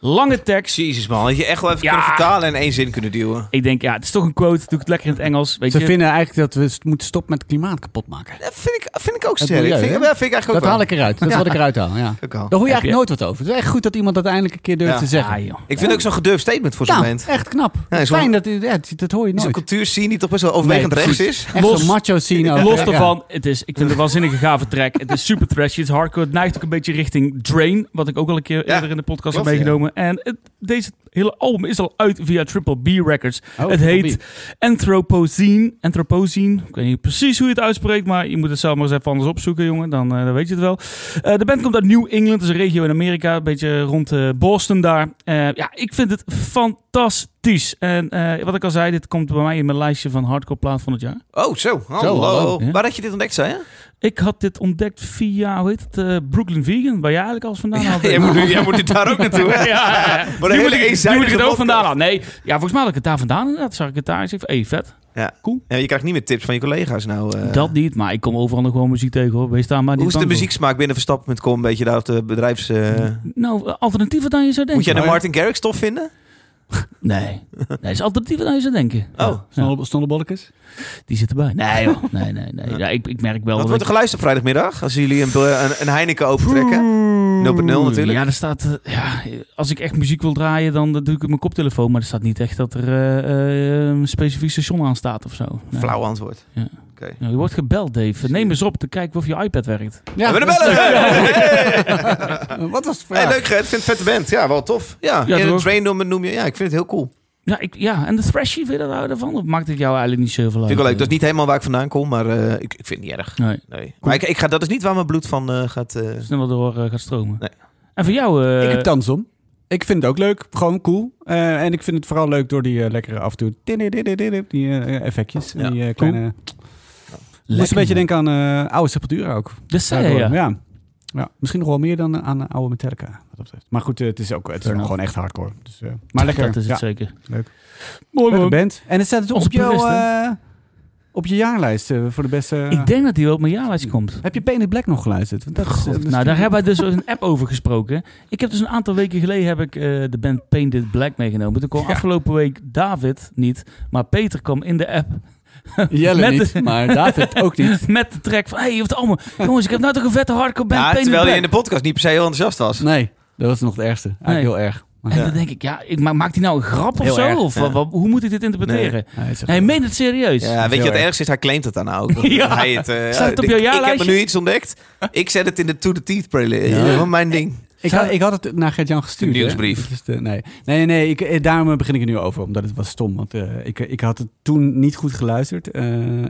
Speaker 2: Lange tekst.
Speaker 3: Jezus man, had je echt wel even
Speaker 2: Ja.
Speaker 3: kunnen vertalen en in één zin kunnen duwen.
Speaker 2: Ik denk, ja, het is toch een quote. Doe ik het lekker in het Engels. Weet
Speaker 1: Ze
Speaker 2: je?
Speaker 1: vinden eigenlijk dat we st- moeten stoppen met het klimaat kapot maken.
Speaker 3: Dat vind ik, vind ik ook
Speaker 1: Het
Speaker 3: sterk.
Speaker 1: milieu,
Speaker 3: vind, ik-
Speaker 1: hè?
Speaker 3: ja, vind ik eigenlijk ook
Speaker 1: Dat
Speaker 3: wel.
Speaker 1: haal ik Nou. eruit. Dat is wat
Speaker 2: [LAUGHS]
Speaker 1: ik eruit haal, ja.
Speaker 3: Ook al.
Speaker 1: Daar hoor je
Speaker 2: Heb je-
Speaker 1: eigenlijk nooit wat over. Het is echt goed dat iemand dat eindelijk een keer durft
Speaker 3: Ja.
Speaker 1: te zeggen.
Speaker 2: Ah, joh.
Speaker 3: Ik vind ook zo'n gedurfd statement voor zo'n
Speaker 1: Nou,
Speaker 3: moment.
Speaker 1: echt knap. Het is
Speaker 3: is wel-
Speaker 1: Fijn dat, ja, dat, dat hoor je
Speaker 3: Is een
Speaker 1: nooit.
Speaker 3: cultuurscene die toch best wel overwegend
Speaker 1: Nee,
Speaker 3: rechts
Speaker 1: precies.
Speaker 3: is.
Speaker 1: Echt
Speaker 2: Los-
Speaker 1: zo'n macho
Speaker 2: [LAUGHS]
Speaker 1: scene. ook.
Speaker 2: Los
Speaker 1: nou Ja.
Speaker 2: daarvan, het is, ik vind het een waanzinnige gave track. Het is super trashy, het is hardcore. Het neigt ook een beetje richting Drain, wat ik ook al een keer
Speaker 3: Ja,
Speaker 2: eerder in de podcast
Speaker 3: klopt,
Speaker 2: heb meegenomen. En het, deze hele album is al uit via Triple B Records.
Speaker 1: Oh,
Speaker 2: het
Speaker 1: Triple
Speaker 2: heet Anthropocene. Anthropocene. Ik weet niet precies hoe je het uitspreekt, maar je moet het zelf maar eens even anders opzoeken, jongen. Dan, eh, dan weet je het wel. Eh, de band komt uit New England, dat is een regio in Amerika. Een beetje rond eh, Boston daar. Eh, ja, ik vind het fantastisch. En eh, wat ik al zei, dit komt bij mij in mijn lijstje van hardcore plaat van het jaar.
Speaker 3: Oh, zo. Hallo.
Speaker 1: hallo.
Speaker 2: Ja.
Speaker 3: Waar had je dit
Speaker 1: [LAUGHS]
Speaker 3: ontdekt, zei je?
Speaker 2: Ik had dit ontdekt via, hoe heet het, eh, Brooklyn Vegan, waar jij eigenlijk alles vandaan
Speaker 3: [LAUGHS]
Speaker 2: had.
Speaker 3: jij,
Speaker 2: [LAUGHS]
Speaker 3: moet, jij moet dit daar ook naartoe.
Speaker 1: [LAUGHS]
Speaker 2: ja,
Speaker 3: hè?
Speaker 2: [LAUGHS] ja, ja.
Speaker 3: een
Speaker 2: nu
Speaker 3: hele
Speaker 2: moet ik, nu moet ik
Speaker 3: eenzijdige
Speaker 2: het ook
Speaker 3: podcast.
Speaker 2: vandaan halen. Nee, ja, volgens mij had ik het daar vandaan inderdaad. Zag ik het daar en zeg van, hey, vet.
Speaker 3: Ja.
Speaker 2: Cool.
Speaker 3: Ja, je krijgt niet meer tips van je collega's nou. eh.
Speaker 2: Dat niet, maar ik kom overal nog gewoon muziek tegen hoor. Wees daar maar niet
Speaker 3: Hoe is de
Speaker 2: bang voor.
Speaker 3: muzieksmaak binnen Verstappen.com? Een beetje daar op de bedrijfs... eh,
Speaker 2: Nou, alternatieven dan je zou denken.
Speaker 3: Moet jij de
Speaker 2: hoor.
Speaker 3: Martin Garrix tof vinden?
Speaker 2: Nee. nee, dat is alternatieven dan je zou denken.
Speaker 3: Oh,
Speaker 1: Snolle- Snollebollekes?
Speaker 2: Die zit erbij. Nee joh, nee, nee, nee. Ja, ik, ik merk wel...
Speaker 3: wat
Speaker 2: dat
Speaker 3: wordt er
Speaker 2: ik-
Speaker 3: geluisterd op vrijdagmiddag? Als jullie een, eh, een, een Heineken opentrekken? 0.0 natuurlijk.
Speaker 2: Ja, er staat... eh, Ja, als ik echt muziek wil draaien, dan eh, doe ik het op mijn koptelefoon. Maar er staat niet echt dat er eh, eh, een specifiek station aan staat of zo. Nee.
Speaker 3: Flauw antwoord.
Speaker 2: Ja.
Speaker 3: Oké.
Speaker 2: Nou, je wordt gebeld, Dave. Neem eens op te kijken of je iPad werkt.
Speaker 1: Ja,
Speaker 3: We hebben de
Speaker 1: [LAUGHS]
Speaker 3: bellen!
Speaker 1: Wat was het
Speaker 3: Hey, leuk, Gert. Vind het vette band. Ja, wel tof. Ja,
Speaker 2: Ja,
Speaker 3: in
Speaker 2: toch?
Speaker 3: het traindom noem je. Ja, ik vind het heel cool.
Speaker 2: Ja, ik, ja. en de thrashy, vind je daar nou van? Of maakt het jou eigenlijk niet zoveel uit?
Speaker 3: Vind ik wel leuk. Dat is niet helemaal waar ik vandaan kom, maar eh, ik, ik vind het niet erg.
Speaker 2: Nee, dat
Speaker 3: Nee. Maar ik, ik ga, dat is niet waar mijn bloed van eh, gaat... eh,
Speaker 2: is net wel door eh, gaat stromen.
Speaker 3: Nee.
Speaker 2: En voor jou... eh,
Speaker 1: Ik heb tans om. Ik vind het ook leuk. Gewoon cool. Eh, en ik vind het vooral leuk door die eh, lekkere af en toe... tididididididid, Die eh, effectjes. en
Speaker 3: Ja,
Speaker 1: Die, eh,
Speaker 2: cool.
Speaker 1: kleine... Moest
Speaker 2: lekker,
Speaker 1: een beetje
Speaker 2: man.
Speaker 1: denken aan eh, oude Sepultura ook.
Speaker 2: Dat zei je,
Speaker 1: Daardoor,
Speaker 2: ja.
Speaker 1: ja. Ja, misschien nog wel meer dan eh, aan eh, oude Metallica. Wat dat betreft. Maar goed, eh, het is ook het is
Speaker 2: Fair
Speaker 1: ook
Speaker 2: enough.
Speaker 1: gewoon echt hardcore. Dus, eh, maar lekker.
Speaker 2: Dat is
Speaker 1: ja.
Speaker 2: het zeker.
Speaker 1: Leuk.
Speaker 2: Mooi,
Speaker 1: Leuke
Speaker 2: man.
Speaker 1: band. En het staat het
Speaker 2: Onze
Speaker 1: op, jouw,
Speaker 2: purist, hè?
Speaker 1: eh, op je jaarlijst eh, voor de beste...
Speaker 2: Ik denk dat die wel op mijn jaarlijst komt.
Speaker 1: Heb je Pain in Black nog geluisterd? Want dat is, eh, dat is
Speaker 2: nou, daar
Speaker 1: natuurlijk-
Speaker 2: hebben wij dus een app over gesproken. Ik heb dus een aantal weken geleden heb ik eh, de band Painted Black meegenomen. Toen kwam afgelopen week David niet, maar Peter kwam in de app
Speaker 1: [LAUGHS] Jelle
Speaker 2: Met-
Speaker 1: niet, maar David ook niet.
Speaker 2: [LAUGHS] met de track van... Hé, hey, je hebt het allemaal... Jongens, ik heb nou toch een vette hardcore
Speaker 3: ja,
Speaker 2: band, Painted
Speaker 3: terwijl je
Speaker 2: Black.
Speaker 3: in de podcast niet per se heel enthousiast was.
Speaker 1: Nee, dat was nog het ergste. Eigenlijk
Speaker 2: Nee.
Speaker 1: heel erg. Maar
Speaker 2: En
Speaker 1: ja.
Speaker 2: dan denk ik, ja, ik, ma- maakt hij nou een grap of
Speaker 3: Heel
Speaker 2: zo?
Speaker 3: erg,
Speaker 2: of
Speaker 3: ja.
Speaker 2: wat- wat- hoe moet ik dit interpreteren?
Speaker 1: Hij is echt-
Speaker 2: Hij meent het serieus.
Speaker 3: Ja, weet je
Speaker 1: heel
Speaker 3: wat
Speaker 1: erg.
Speaker 3: ergens is? Hij claimt het daarna [LAUGHS] ook.
Speaker 2: Ja.
Speaker 3: Hij het, eh,
Speaker 2: Staat het op
Speaker 3: ik-
Speaker 2: jouw
Speaker 3: Ik heb
Speaker 2: jaarlijstje?
Speaker 3: er nu iets ontdekt. Ik zet het in de to the teeth playlist.
Speaker 1: Ja.
Speaker 3: Ja. Mijn ding.
Speaker 1: Ik, had, ik had het naar Gert-Jan gestuurd.
Speaker 3: De
Speaker 1: hè?
Speaker 3: nieuwsbrief.
Speaker 1: Dat is de- nee, nee, nee, nee ik, eh, daarom begin ik er nu over. Omdat het was stom. Want eh, ik, ik had het toen niet goed geluisterd. eh,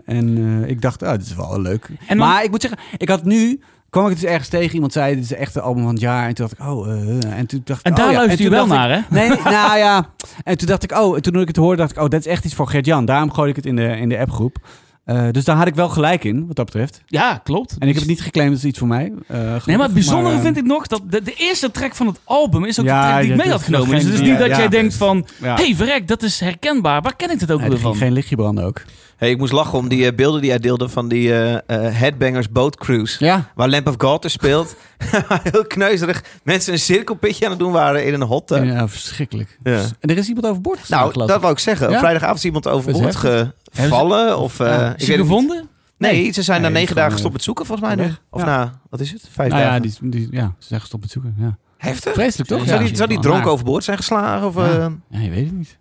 Speaker 1: en eh, ik dacht, ah, dit is wel leuk.
Speaker 2: En dan-
Speaker 1: maar ik moet zeggen, ik had nu... Kwam ik het dus ergens tegen. Iemand zei, dit is echt de album van het jaar. En toen dacht ik, oh... eh, en toen dacht ik,
Speaker 2: En
Speaker 1: oh,
Speaker 2: daar
Speaker 1: ja.
Speaker 2: luister je
Speaker 1: toen
Speaker 2: wel
Speaker 1: dacht ik,
Speaker 2: naar, hè?
Speaker 1: Nee, nee, [LAUGHS] nou ja. En toen dacht ik, oh, en toen ik het hoorde, dacht ik, oh, dat is echt iets voor Gert-Jan. Daarom gooi ik het in de, in de appgroep. Eh, dus daar had ik wel gelijk in, wat dat betreft.
Speaker 2: Ja, klopt. Dus-
Speaker 1: En ik heb het niet geclaimd, dat is iets voor mij. eh,
Speaker 2: Nee, maar het bijzondere
Speaker 1: vind ik.
Speaker 2: vind ik nog dat de, de eerste track van het album is ook
Speaker 1: Ja,
Speaker 2: de track die
Speaker 1: ja,
Speaker 2: ik mee
Speaker 1: dat
Speaker 2: had
Speaker 1: is
Speaker 2: genomen.
Speaker 1: nog
Speaker 2: Dus het is
Speaker 1: geen-
Speaker 2: niet
Speaker 1: ja,
Speaker 2: dat jij
Speaker 1: ja,
Speaker 2: denkt van,
Speaker 1: Ja.
Speaker 2: hey, verrek, dat is herkenbaar. Waar ken ik dit ook
Speaker 1: Nee, er
Speaker 2: weer van?
Speaker 1: ging geen lichtje branden ook.
Speaker 3: Hey, ik moest lachen om die eh, beelden die hij deelde van die eh, eh, Headbangers Boat Cruise.
Speaker 1: Ja.
Speaker 3: Waar Lamp of God er
Speaker 1: [LAUGHS]
Speaker 3: speelt. [LAUGHS] Heel kneuzerig. Mensen een cirkelpitje aan het doen waren in een hot tub.
Speaker 1: Ja, verschrikkelijk. Dus-
Speaker 3: Ja.
Speaker 1: En er is iemand overboord geslagen,
Speaker 3: Nou,
Speaker 1: geloof
Speaker 3: dat
Speaker 1: ik.
Speaker 3: wou ik zeggen.
Speaker 1: Ja?
Speaker 3: Op vrijdagavond is iemand overboord
Speaker 1: Dat is
Speaker 3: gevallen. Of, eh,
Speaker 1: Ja.
Speaker 3: ik weet
Speaker 2: Is je
Speaker 3: het niet.
Speaker 2: gevonden?
Speaker 3: Nee, ze zijn
Speaker 1: Nee,
Speaker 3: na negen
Speaker 1: gewoon,
Speaker 3: dagen
Speaker 1: eh,
Speaker 3: gestopt met zoeken, volgens mij
Speaker 1: weg.
Speaker 3: nog. Of nou,
Speaker 1: Ja.
Speaker 3: na, wat is het? Vijf
Speaker 1: Nou ja,
Speaker 3: dagen.
Speaker 1: die, die, ja, ze zijn gestopt met zoeken. Ja.
Speaker 3: Heftig.
Speaker 1: Vreselijk toch?
Speaker 3: zou
Speaker 1: Ja.
Speaker 3: die, zou die
Speaker 1: Ja.
Speaker 3: dronken overboord zijn geslagen? Of,
Speaker 1: Ja.
Speaker 3: eh,
Speaker 1: Ja, je weet het niet.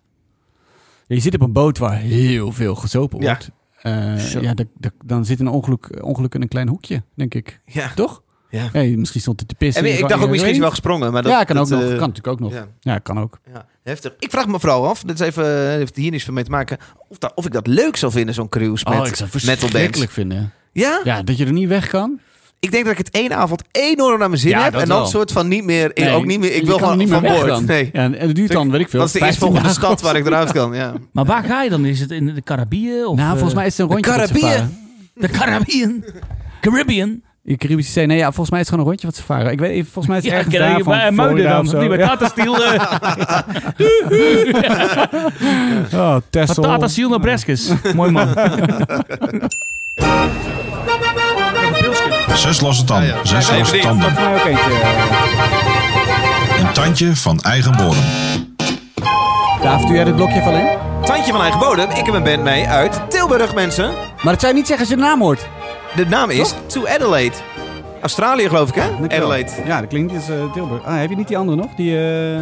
Speaker 1: Ja, je zit op een boot waar heel veel gezopen
Speaker 3: Ja.
Speaker 1: wordt. Eh,
Speaker 2: Zo.
Speaker 1: ja, dat- dat- dan zit een ongeluk, ongeluk in een klein hoekje, denk ik.
Speaker 3: ja.
Speaker 1: Toch?
Speaker 3: Ja.
Speaker 1: Hey, misschien stond het te pissen.
Speaker 3: En ik dacht ook, misschien is
Speaker 1: wel.
Speaker 3: hij wel gesprongen. Maar dat,
Speaker 1: ja, kan,
Speaker 3: dat,
Speaker 1: ook nog,
Speaker 3: eh,
Speaker 1: kan natuurlijk ook nog. Ja,
Speaker 3: ja,
Speaker 1: kan ook.
Speaker 3: ja, heftig. Ik vraag me vooral af, dit is even, eh, heeft hier niks van mee te maken, of, dat, of ik dat leuk zou vinden, zo'n cruise
Speaker 1: Oh,
Speaker 3: met metal bands.
Speaker 1: vinden.
Speaker 3: Ja?
Speaker 1: Ja, dat je er niet weg kan.
Speaker 3: ik denk dat ik het één avond enorm naar mijn zin
Speaker 1: Ja,
Speaker 3: heb.
Speaker 1: dat
Speaker 3: En dan
Speaker 1: wel.
Speaker 3: soort van niet meer, ik,
Speaker 1: Nee,
Speaker 3: ook niet meer, ik
Speaker 1: je
Speaker 3: wil
Speaker 1: kan er
Speaker 3: gewoon
Speaker 1: niet meer
Speaker 3: van
Speaker 1: weg
Speaker 3: boord.
Speaker 1: dan.
Speaker 3: Nee.
Speaker 1: Ja, en het duurt dan, weet ik veel,
Speaker 3: Dat is de
Speaker 1: 15
Speaker 3: eerstvolgende
Speaker 1: dagen
Speaker 3: stad waar ik eruit kan. Ja.
Speaker 2: Maar waar ga je dan? Is het in de Caraïben? Of,
Speaker 1: Nou,
Speaker 2: eh,
Speaker 1: volgens mij is het een
Speaker 3: de
Speaker 1: rondje. wat ze
Speaker 3: Caraïben.
Speaker 1: varen.
Speaker 2: De Caraïben. Caribbean.
Speaker 1: In Caribische Zee. Nee, ja, volgens mij is het gewoon een rondje wat ze varen. Ik weet even, volgens mij is het ergens
Speaker 2: Caribbean.
Speaker 1: daar van
Speaker 2: Bij Muiden
Speaker 1: Florida
Speaker 2: dan.
Speaker 1: of zo.
Speaker 2: Die bij
Speaker 1: Ja.
Speaker 2: Tata Steel.
Speaker 1: [LAUGHS]
Speaker 2: eh,
Speaker 1: Oh,
Speaker 2: [LAUGHS] Van
Speaker 1: Texel.
Speaker 2: Tata Steel naar Breskes. Mooi
Speaker 1: [LAUGHS]
Speaker 2: man.
Speaker 7: Zes losse tanden, zes losse tanden.
Speaker 1: Volgens mij ook eentje.
Speaker 7: Een tandje van eigen bodem.
Speaker 1: Daaf, doe jij dit blokje even alleen?
Speaker 3: Tandje van eigen bodem, ik heb een band mee uit Tilburg, mensen.
Speaker 1: Maar dat zou je niet zeggen als je de naam hoort.
Speaker 3: De naam is To Adelaide. Australië geloof ik, hè? Adelaide.
Speaker 1: Ja, dat klinkt dus eh, Tilburg. Ah, heb je niet die andere nog? Die... eh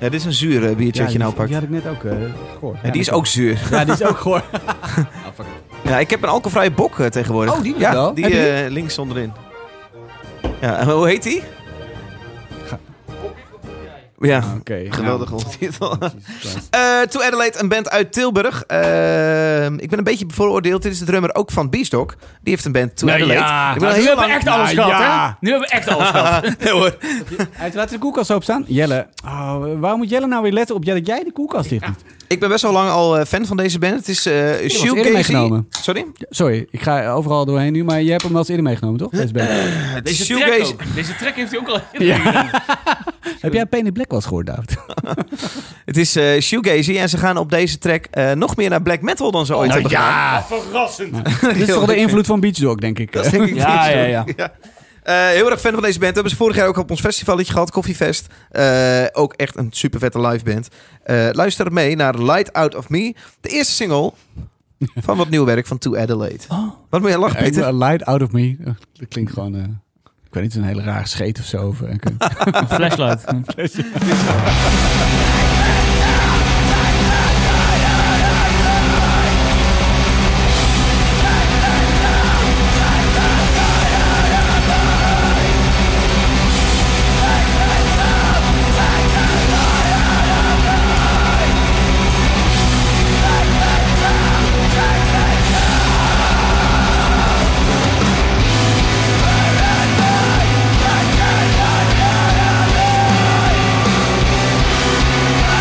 Speaker 3: Ja, dit is een zuur eh, biertje
Speaker 1: ja,
Speaker 3: dat je
Speaker 1: die-
Speaker 3: nou pakt.
Speaker 1: Die
Speaker 3: Ja,
Speaker 1: had ik net ook eh, gehoord. Ja,
Speaker 3: die is ook zuur.
Speaker 1: Ja, die is ook
Speaker 3: [LAUGHS]
Speaker 1: gehoord.
Speaker 3: Ja, ik heb een alcoholvrije bok eh, tegenwoordig.
Speaker 1: Oh, die
Speaker 3: ja,
Speaker 1: wel.
Speaker 3: Die
Speaker 1: Heb je
Speaker 3: eh, links onderin. Ja, en hoe heet die? Ja,
Speaker 1: Oké.
Speaker 3: geweldig
Speaker 2: [LAUGHS]
Speaker 3: ondertitel. Eh, to Adelaide, een band uit Tilburg. Eh, ik ben een beetje bevooroordeeld. Dit is de drummer ook van Beastok. Die heeft een band, To
Speaker 2: Nou
Speaker 3: Adelaide.
Speaker 2: ja,
Speaker 3: ik
Speaker 2: nou,
Speaker 3: ben al
Speaker 2: nu
Speaker 3: heel
Speaker 2: hebben
Speaker 3: lang...
Speaker 2: we echt alles
Speaker 1: Nou
Speaker 2: gehad, hè?
Speaker 1: ja.
Speaker 2: Nu hebben we echt alles
Speaker 1: [LAUGHS]
Speaker 2: gehad.
Speaker 3: Nee, hoor.
Speaker 1: Hij heeft laten de koelkast openstaan. Jelle. Oh, waarom moet Jelle nou weer letten op jij- dat jij de koelkast dicht doet?
Speaker 3: Ik ben best wel lang al eh, fan van deze band. Het is eh Shoe
Speaker 1: eerder
Speaker 3: Casey-
Speaker 1: meegenomen.
Speaker 3: Sorry?
Speaker 1: Sorry, ik ga overal doorheen nu, maar jij hebt hem wel eens eerder meegenomen, toch? Deze band.
Speaker 2: [LAUGHS] Deze
Speaker 3: Shoe
Speaker 2: track,
Speaker 3: Casey-
Speaker 2: ook. Deze track heeft hij ook al
Speaker 1: [LAUGHS] Heb jij Penny Black wel eens gehoord, David?
Speaker 2: Oh,
Speaker 3: Het is eh shoegazy en ze gaan op deze track eh, nog meer naar black metal dan ze ooit
Speaker 2: Oh,
Speaker 3: hebben gedaan.
Speaker 2: [LAUGHS] Verrassend.
Speaker 1: Dit is toch de invloed van Beach Dog, denk ik. [LAUGHS]
Speaker 3: Dat denk ik
Speaker 2: Ja,
Speaker 3: niet,
Speaker 2: ja,
Speaker 3: hoor.
Speaker 2: ja.
Speaker 3: [LAUGHS] Eh, heel erg fan van deze band. We hebben ze vorig jaar ook op ons festivaletje gehad, Koffiefest. Eh, ook echt een super vette live band. Eh, luister mee naar Light Out of Me, de eerste [LAUGHS] single van wat nieuw werk van To Adelaide. Wat moet je lachen,
Speaker 1: Ik
Speaker 3: Peter?
Speaker 1: ben light out of me. Eh, Dat klinkt gewoon... eh, ik weet niet, een hele raar scheet of zo. Of, eh,
Speaker 2: [LAUGHS]
Speaker 1: ik-
Speaker 2: [LAUGHS] Flashlight.
Speaker 4: Light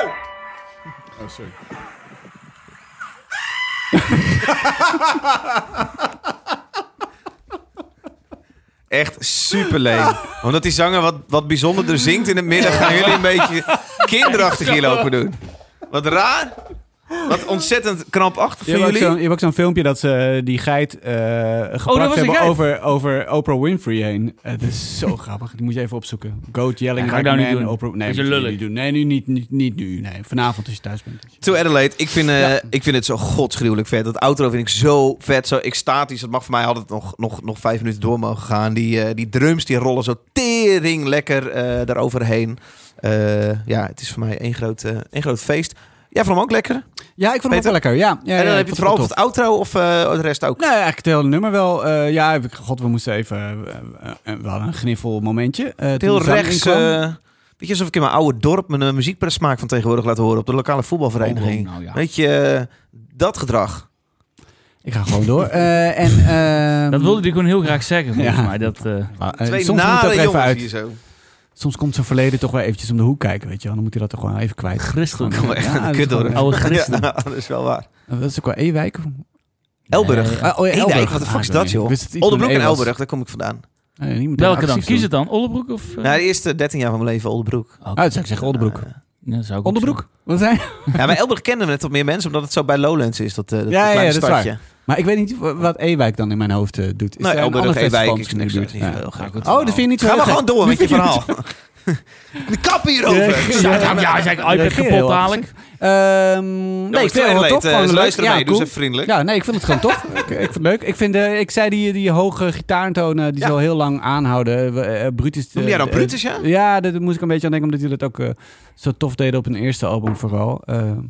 Speaker 8: Oh, sorry.
Speaker 3: Echt super [LAUGHS] leem. Omdat die zanger wat, wat bijzonderder zingt in het midden, gaan jullie een beetje kinderachtig hier lopen doen. Wat raar. Wat ontzettend krampachtig
Speaker 1: Je hebt,
Speaker 3: voor
Speaker 1: ook zo'n, je
Speaker 3: jullie.
Speaker 1: hebt ook zo'n filmpje dat ze die geit eh
Speaker 2: Oh, was
Speaker 1: gepraat
Speaker 2: die
Speaker 1: hebben
Speaker 2: geit.
Speaker 1: Over, over Oprah Winfrey heen. Het is zo [LAUGHS] grappig. Die moet je even opzoeken. Goat yelling.
Speaker 2: Ja, ga
Speaker 1: like
Speaker 2: ik nou niet
Speaker 1: man,
Speaker 2: doen.
Speaker 1: Oprah, nee,
Speaker 2: Beetje
Speaker 1: moet je
Speaker 2: lullig.
Speaker 1: niet doen. Nee, nu niet, niet, niet nu. Nee, vanavond als je thuis bent.
Speaker 3: To Adelaide, ik vind, eh, ik vind het zo godsgruwelijk vet. Dat outro vind ik zo vet, zo extatisch. Dat mag voor mij altijd nog, nog, nog vijf minuten door mogen gaan. Die, eh, die drums die rollen zo tering lekker eh daaroverheen. Eh, ja, het is voor mij één groot, eh, één groot feest. Jij vond hem ook lekker?
Speaker 1: Ja, ik vond
Speaker 3: Peter?
Speaker 1: het wel lekker. Ja, ja,
Speaker 3: en
Speaker 1: ja,
Speaker 3: dan
Speaker 1: ik
Speaker 3: heb je
Speaker 1: vond
Speaker 3: het vooral op
Speaker 1: wel
Speaker 3: het outro of eh, de rest ook?
Speaker 1: Nee, eigenlijk het hele nummer wel. Eh, ja, ik- god, we moesten even... eh, eh, eh, we hadden een gniffel momentje. eh,
Speaker 3: Het
Speaker 1: toen
Speaker 3: heel
Speaker 1: de zang
Speaker 3: rechts.
Speaker 1: inkwam. nou
Speaker 3: eh, beetje alsof ik in mijn oude dorp mijn eh, muziekpersmaak van tegenwoordig laat horen op de lokale voetbalvereniging.
Speaker 2: Oh, nou ja.
Speaker 3: Weet je, eh, dat gedrag.
Speaker 1: Ik ga gewoon door. Eh, en, ehm,
Speaker 2: Dat wilde hij gewoon heel graag zeggen, volgens
Speaker 1: Ja.
Speaker 2: mij. Dat, eh,
Speaker 1: ah, eh,
Speaker 3: Twee
Speaker 1: soms moet het
Speaker 3: nare
Speaker 1: er even
Speaker 3: jongens
Speaker 1: uit.
Speaker 3: hier zo.
Speaker 1: Soms komt zijn verleden toch wel eventjes om de hoek kijken, weet je wel. Dan moet hij dat toch gewoon even kwijt.
Speaker 3: [LAUGHS]
Speaker 2: Christen.
Speaker 1: Gewoon-
Speaker 3: echt aan de
Speaker 1: dat
Speaker 3: kut
Speaker 1: is gewoon- eh,
Speaker 3: door.
Speaker 2: Oude christen.
Speaker 3: [LAUGHS] Ja, dat is wel waar.
Speaker 1: Dat is ook wel Ewijk.
Speaker 3: Elburg.
Speaker 2: Nee.
Speaker 1: Ah, oh ja,
Speaker 3: Eendijk,
Speaker 1: Elburg.
Speaker 3: wat de fuck is
Speaker 1: Ah,
Speaker 3: dat, joh?
Speaker 1: ik wist dat iets
Speaker 3: Oldenbroek
Speaker 1: met
Speaker 3: en
Speaker 1: een E was.
Speaker 3: Elburg, daar kom ik vandaan.
Speaker 1: Nee, niet met
Speaker 2: [LAUGHS] Welke dan?
Speaker 1: actief
Speaker 2: Kies
Speaker 1: doen.
Speaker 2: het dan? Ollebroek of... eh? Oh,
Speaker 3: Na de eerste 13 jaar van mijn leven Oldenbroek.
Speaker 1: Ah, dat zou ik zeggen, Oldenbroek.
Speaker 3: Eh,
Speaker 2: Ja, dat zou ik ook
Speaker 1: Onderbroek? Wat zijn?
Speaker 3: ja, maar Elburg kennen we net tot meer mensen, omdat het zo bij Lowlands is, dat, eh dat
Speaker 1: Ja, ja,
Speaker 3: kleine
Speaker 1: dat is waar.
Speaker 3: stadje.
Speaker 1: Maar ik weet niet wa- wat Ewijk dan in mijn hoofd eh, doet. Is
Speaker 3: Nou,
Speaker 1: er een
Speaker 3: Elburg,
Speaker 1: ander
Speaker 3: Ewijk,
Speaker 1: festival
Speaker 3: is
Speaker 1: misschien
Speaker 3: niks.
Speaker 1: in de
Speaker 3: dat is
Speaker 1: buurt?
Speaker 3: niet heel gek.
Speaker 1: Ja. Oh, dat vind je niet zo
Speaker 3: Ga maar
Speaker 1: gek.
Speaker 3: gewoon
Speaker 1: [LAUGHS]
Speaker 3: door
Speaker 1: Dat
Speaker 3: met je
Speaker 1: vind niet
Speaker 3: verhaal. [LAUGHS] De kap
Speaker 1: Ja,
Speaker 3: hierover.
Speaker 1: ja,
Speaker 2: Ja, ja, ja, zeg, iPad
Speaker 1: Reageer
Speaker 2: kapot
Speaker 1: heel
Speaker 2: dadelijk.
Speaker 1: Ehm, nee, ik vind het wel
Speaker 3: Adelaide,
Speaker 1: tof.
Speaker 3: eh,
Speaker 1: gewoon
Speaker 3: ze
Speaker 1: leuk.
Speaker 3: luisteren
Speaker 1: ja,
Speaker 3: mee, doe
Speaker 1: cool.
Speaker 3: ze even vriendelijk.
Speaker 1: Ja, nee, ik vind het gewoon tof. ik, ik vind het leuk. Ik, vind, eh, ik zei die, die hoge gitaartonen, die
Speaker 3: Ja.
Speaker 1: zal heel lang aanhouden. We- eh, Brutus.
Speaker 3: Noem jij
Speaker 1: eh,
Speaker 3: dan
Speaker 1: eh,
Speaker 3: Brutus, ja?
Speaker 1: Ja, daar daar moest ik een beetje aan denken, omdat jullie dat ook eh, zo tof deden op hun eerste album vooral. Ehm,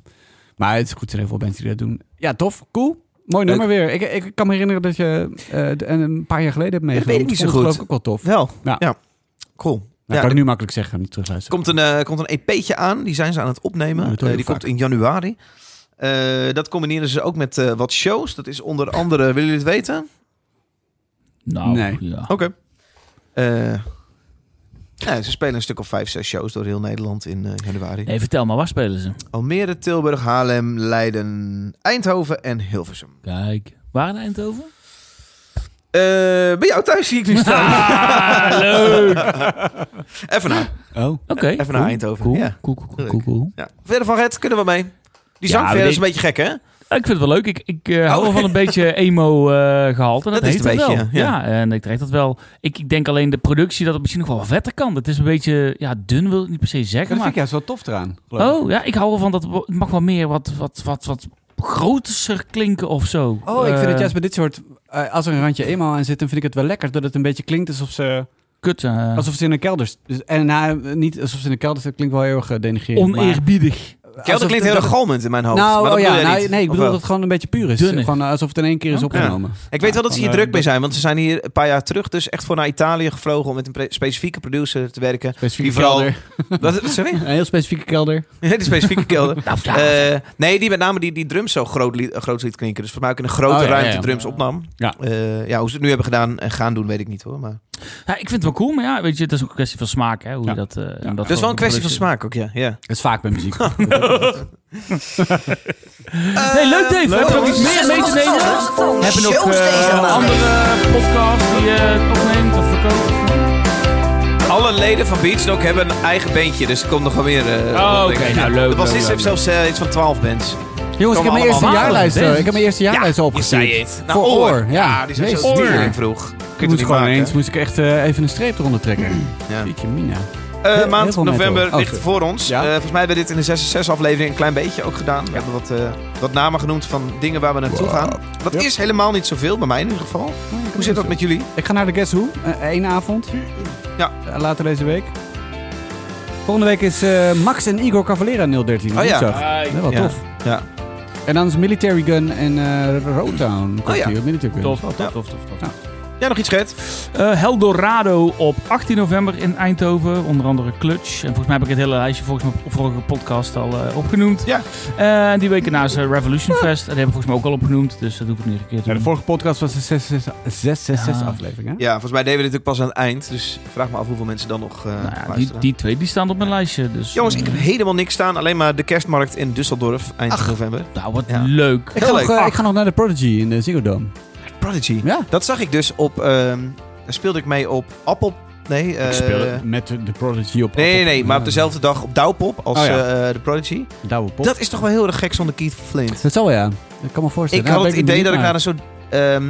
Speaker 1: maar het is goed, er zijn heel veel mensen die dat doen. Ja, tof, cool. Mooi
Speaker 3: Leuk.
Speaker 1: nummer weer. Ik, ik kan me herinneren dat je eh, d- een- een paar jaar geleden hebt meegenomen.
Speaker 3: weet ik niet zo
Speaker 1: Vond geloof
Speaker 3: goed.
Speaker 1: ik ook wel tof. Nou,
Speaker 3: Wel, ja.
Speaker 1: Ja.
Speaker 3: Cool.
Speaker 1: dat
Speaker 3: Ja,
Speaker 1: kan
Speaker 3: er
Speaker 1: ik nu makkelijk zeggen, niet terugluisteren.
Speaker 3: komt een, eh, komt een EP'tje aan, die zijn ze aan het opnemen.
Speaker 1: Ja, dat hoor
Speaker 3: Eh,
Speaker 1: je
Speaker 3: die
Speaker 1: vaak.
Speaker 3: komt in januari. Eh, dat combineren ze ook met eh, wat shows. Dat is onder andere, willen jullie het weten?
Speaker 2: Nou,
Speaker 1: Nee.
Speaker 2: ja.
Speaker 3: Oké. Eh, ja, ze spelen een stuk of vijf, zes shows door heel Nederland in eh, januari.
Speaker 2: Nee, vertel maar, waar spelen ze?
Speaker 3: Almere, Tilburg, Haarlem, Leiden, Eindhoven en Hilversum.
Speaker 2: Kijk. Waar in Eindhoven?
Speaker 3: Eh, bij jou thuis zie ik nu staan. [LAUGHS]
Speaker 2: Ah, leuk! Oké.
Speaker 3: Even naar,
Speaker 1: Oh.
Speaker 3: even naar
Speaker 2: cool.
Speaker 3: Eindhoven.
Speaker 2: Cool,
Speaker 3: Ja.
Speaker 2: cool, cool, cool,
Speaker 3: Leuk.
Speaker 2: cool, cool.
Speaker 3: Ja. Verder van het kunnen we mee. Die
Speaker 2: Ja,
Speaker 3: zang
Speaker 2: we
Speaker 3: verder is een
Speaker 2: denken-
Speaker 3: beetje gek, hè?
Speaker 2: Ja, Ik vind het wel leuk. Ik, ik eh, hou
Speaker 3: Oh.
Speaker 2: wel van een beetje emo-gehalte. dat
Speaker 3: Dat is
Speaker 2: heeft
Speaker 3: het een
Speaker 2: het
Speaker 3: beetje,
Speaker 2: wel.
Speaker 3: ja.
Speaker 2: Ja. en ik trek dat wel. Ik, ik denk alleen de productie dat het misschien nog wel vetter kan. Het is een beetje ja, dun, wil ik niet per se
Speaker 1: Dat
Speaker 2: zeggen.
Speaker 1: vind
Speaker 2: Maar...
Speaker 1: ik juist wel tof eraan. geloof ik.
Speaker 2: Oh, ja, ik hou wel van dat het mag wel meer wat, wat, wat, wat groter klinken of zo.
Speaker 1: Oh, ik vind
Speaker 2: Eh,
Speaker 1: het juist bij dit soort... eh, als er een randje eenmaal aan zit, dan vind ik het wel lekker dat het een beetje klinkt alsof ze,
Speaker 2: kut. eh,
Speaker 1: alsof ze in een kelder... st- Dus, en nou, niet alsof ze in een kelder zit, klinkt wel heel erg eh, denigrerend. maar-
Speaker 2: oneerbiedig.
Speaker 3: Kelder
Speaker 1: alsof-
Speaker 3: klinkt heel erg galmend in mijn hoofd.
Speaker 1: Nou,
Speaker 3: maar dat
Speaker 1: oh
Speaker 3: bedoel
Speaker 1: ja,
Speaker 3: jij
Speaker 1: nou,
Speaker 3: niet,
Speaker 1: nee, ik
Speaker 3: of
Speaker 1: bedoel dat
Speaker 3: wel?
Speaker 1: het gewoon een beetje puur is.
Speaker 2: Dunner.
Speaker 1: Gewoon eh, alsof het in één keer is
Speaker 2: Oké.
Speaker 1: opgenomen.
Speaker 3: Ik weet wel dat ze hier
Speaker 1: Van, eh,
Speaker 3: druk mee zijn, want ze zijn hier een paar jaar terug dus echt voor naar Italië gevlogen om met een pre- specifieke producer te werken.
Speaker 1: Specifieke
Speaker 3: Die vooral-
Speaker 1: kelder.
Speaker 3: Dat, sorry? [LAUGHS]
Speaker 1: Een heel specifieke kelder.
Speaker 3: Die specifieke kelder.
Speaker 2: Nou, ja.
Speaker 3: Eh, nee, die met name die, die drums zo groot liet, groot liet klinken. Dus voor mij ook in een grote
Speaker 1: Oh, ja, ja,
Speaker 3: ruimte
Speaker 1: ja.
Speaker 3: drums opnam.
Speaker 1: Ja.
Speaker 3: Eh, ja, hoe ze het nu hebben gedaan en gaan doen, weet ik niet hoor. Maar...
Speaker 2: Ja, ik vind het wel cool, maar ja, weet je, het is ook een kwestie van smaak. Hè, hoe
Speaker 1: Ja.
Speaker 2: je dat, eh, en dat
Speaker 3: Dat is wel
Speaker 2: voor-
Speaker 3: een kwestie van
Speaker 2: productie-
Speaker 3: smaak ook, ja. ja.
Speaker 1: Dat is vaak bij
Speaker 3: [LAUGHS]
Speaker 1: muziek.
Speaker 2: Nee, leuk Dave. We hebben nog iets meer
Speaker 5: Zes
Speaker 2: mee te
Speaker 5: losse
Speaker 2: nemen.
Speaker 5: tanden.
Speaker 2: We hebben nog
Speaker 5: Shows deze
Speaker 2: eh,
Speaker 5: maand.
Speaker 2: andere podcasts die je opneemt of verkoopt.
Speaker 3: Alle leden van Beatsnock hebben een eigen bandje, dus er komt nog wel meer. eh,
Speaker 2: Oh,
Speaker 3: wat,
Speaker 2: oké,
Speaker 3: denk ik.
Speaker 2: nou, leuk,
Speaker 3: De bassist
Speaker 2: leuk,
Speaker 3: heeft
Speaker 2: leuk.
Speaker 3: zelfs eh, iets van 12 bands.
Speaker 1: Jongens, ik heb mijn
Speaker 3: allemaal
Speaker 1: eerste
Speaker 3: aan.
Speaker 1: jaarlijst.
Speaker 2: Deze.
Speaker 1: eh, Ik heb mijn eerste jaarlijst al opgestuurd.
Speaker 3: je zei het. Nou,
Speaker 1: Voor
Speaker 3: oor.
Speaker 1: oor. Ja,
Speaker 3: die zijn
Speaker 1: Jezus,
Speaker 3: zo
Speaker 1: die
Speaker 3: dier
Speaker 1: zijn-
Speaker 3: vroeg.
Speaker 1: Ik
Speaker 3: Kun je
Speaker 1: moest
Speaker 3: het niet
Speaker 1: gewoon
Speaker 3: maken.
Speaker 1: eens moest ik echt eh, even een streep eronder trekken.
Speaker 3: Ja.
Speaker 1: Jeetje, Mina.
Speaker 3: Eh,
Speaker 1: Heel- heel
Speaker 3: maand
Speaker 1: veel
Speaker 3: november
Speaker 1: metal. Oh,
Speaker 3: ligt
Speaker 1: sorry.
Speaker 3: voor ons.
Speaker 1: Ja.
Speaker 3: Eh, volgens mij hebben we dit in de 66 aflevering een klein beetje ook gedaan. We hebben wat, eh, wat namen genoemd van dingen waar we naartoe gaan. Dat
Speaker 1: Yep.
Speaker 3: is helemaal niet zoveel, bij mij in ieder geval. Hoe zit dat met jullie?
Speaker 1: Ik ga naar de Guess Who. eh, één avond.
Speaker 3: Ja.
Speaker 1: Eh, later deze week. Volgende week is eh, Max en Igor Cavalera 013.
Speaker 3: Oh ja.
Speaker 1: woensdag. Dat wel
Speaker 3: Ja.
Speaker 1: tof.
Speaker 3: Ja.
Speaker 1: En dan is Military Gun en eh Roadtown. Komt
Speaker 3: Oh ja.
Speaker 1: hier, Military Gun.
Speaker 2: Tof,
Speaker 1: Wel
Speaker 2: tof, tof, tof. tof.
Speaker 1: Ja.
Speaker 3: Ja, nog iets, Gert?
Speaker 2: Eh Heldorado op 18 november in Eindhoven. Onder andere Clutch. En volgens mij heb ik het hele lijstje volgens mijn vorige podcast al eh, opgenoemd.
Speaker 3: Ja.
Speaker 2: En die week daarna is eh, Revolution Fest. En die hebben we volgens mij ook al opgenoemd. Dus dat hoef ik niet een keer
Speaker 1: Ja,
Speaker 2: te
Speaker 1: de
Speaker 2: doen.
Speaker 1: vorige podcast was de 666
Speaker 2: Ja.
Speaker 1: aflevering, hè?
Speaker 3: Ja, volgens mij deden we dit ook pas aan het eind. Dus ik vraag me af hoeveel mensen dan nog eh
Speaker 2: Nou ja, die,
Speaker 3: luisteren.
Speaker 2: die twee die staan op mijn lijstje. Dus,
Speaker 3: Jongens,
Speaker 2: eh,
Speaker 3: ik heb helemaal niks staan. Alleen maar de kerstmarkt in Düsseldorf eind november.
Speaker 2: Nou, wat
Speaker 3: Ja.
Speaker 2: leuk.
Speaker 1: Ik ga,
Speaker 3: Heel
Speaker 1: nog,
Speaker 3: leuk.
Speaker 1: eh, ik ga nog naar de Prodigy in de Ziggo Dome.
Speaker 3: Prodigy.
Speaker 1: Ja.
Speaker 3: Dat zag ik dus op... ehm, daar speelde ik mee op Apple... Nee, eh,
Speaker 1: ik speel met de, de Prodigy op.
Speaker 3: Nee, nee, nee, maar op dezelfde dag op Douwpop als
Speaker 1: Oh ja.
Speaker 3: eh, de Prodigy.
Speaker 1: Douwe pop. Dat,
Speaker 3: Dat is toch wel heel erg gek zonder Keith Flint.
Speaker 1: zal wel, ja. Dat kan me voorstellen. Nou,
Speaker 3: Ik had het idee dat ik naar
Speaker 1: naar
Speaker 3: een soort ehm,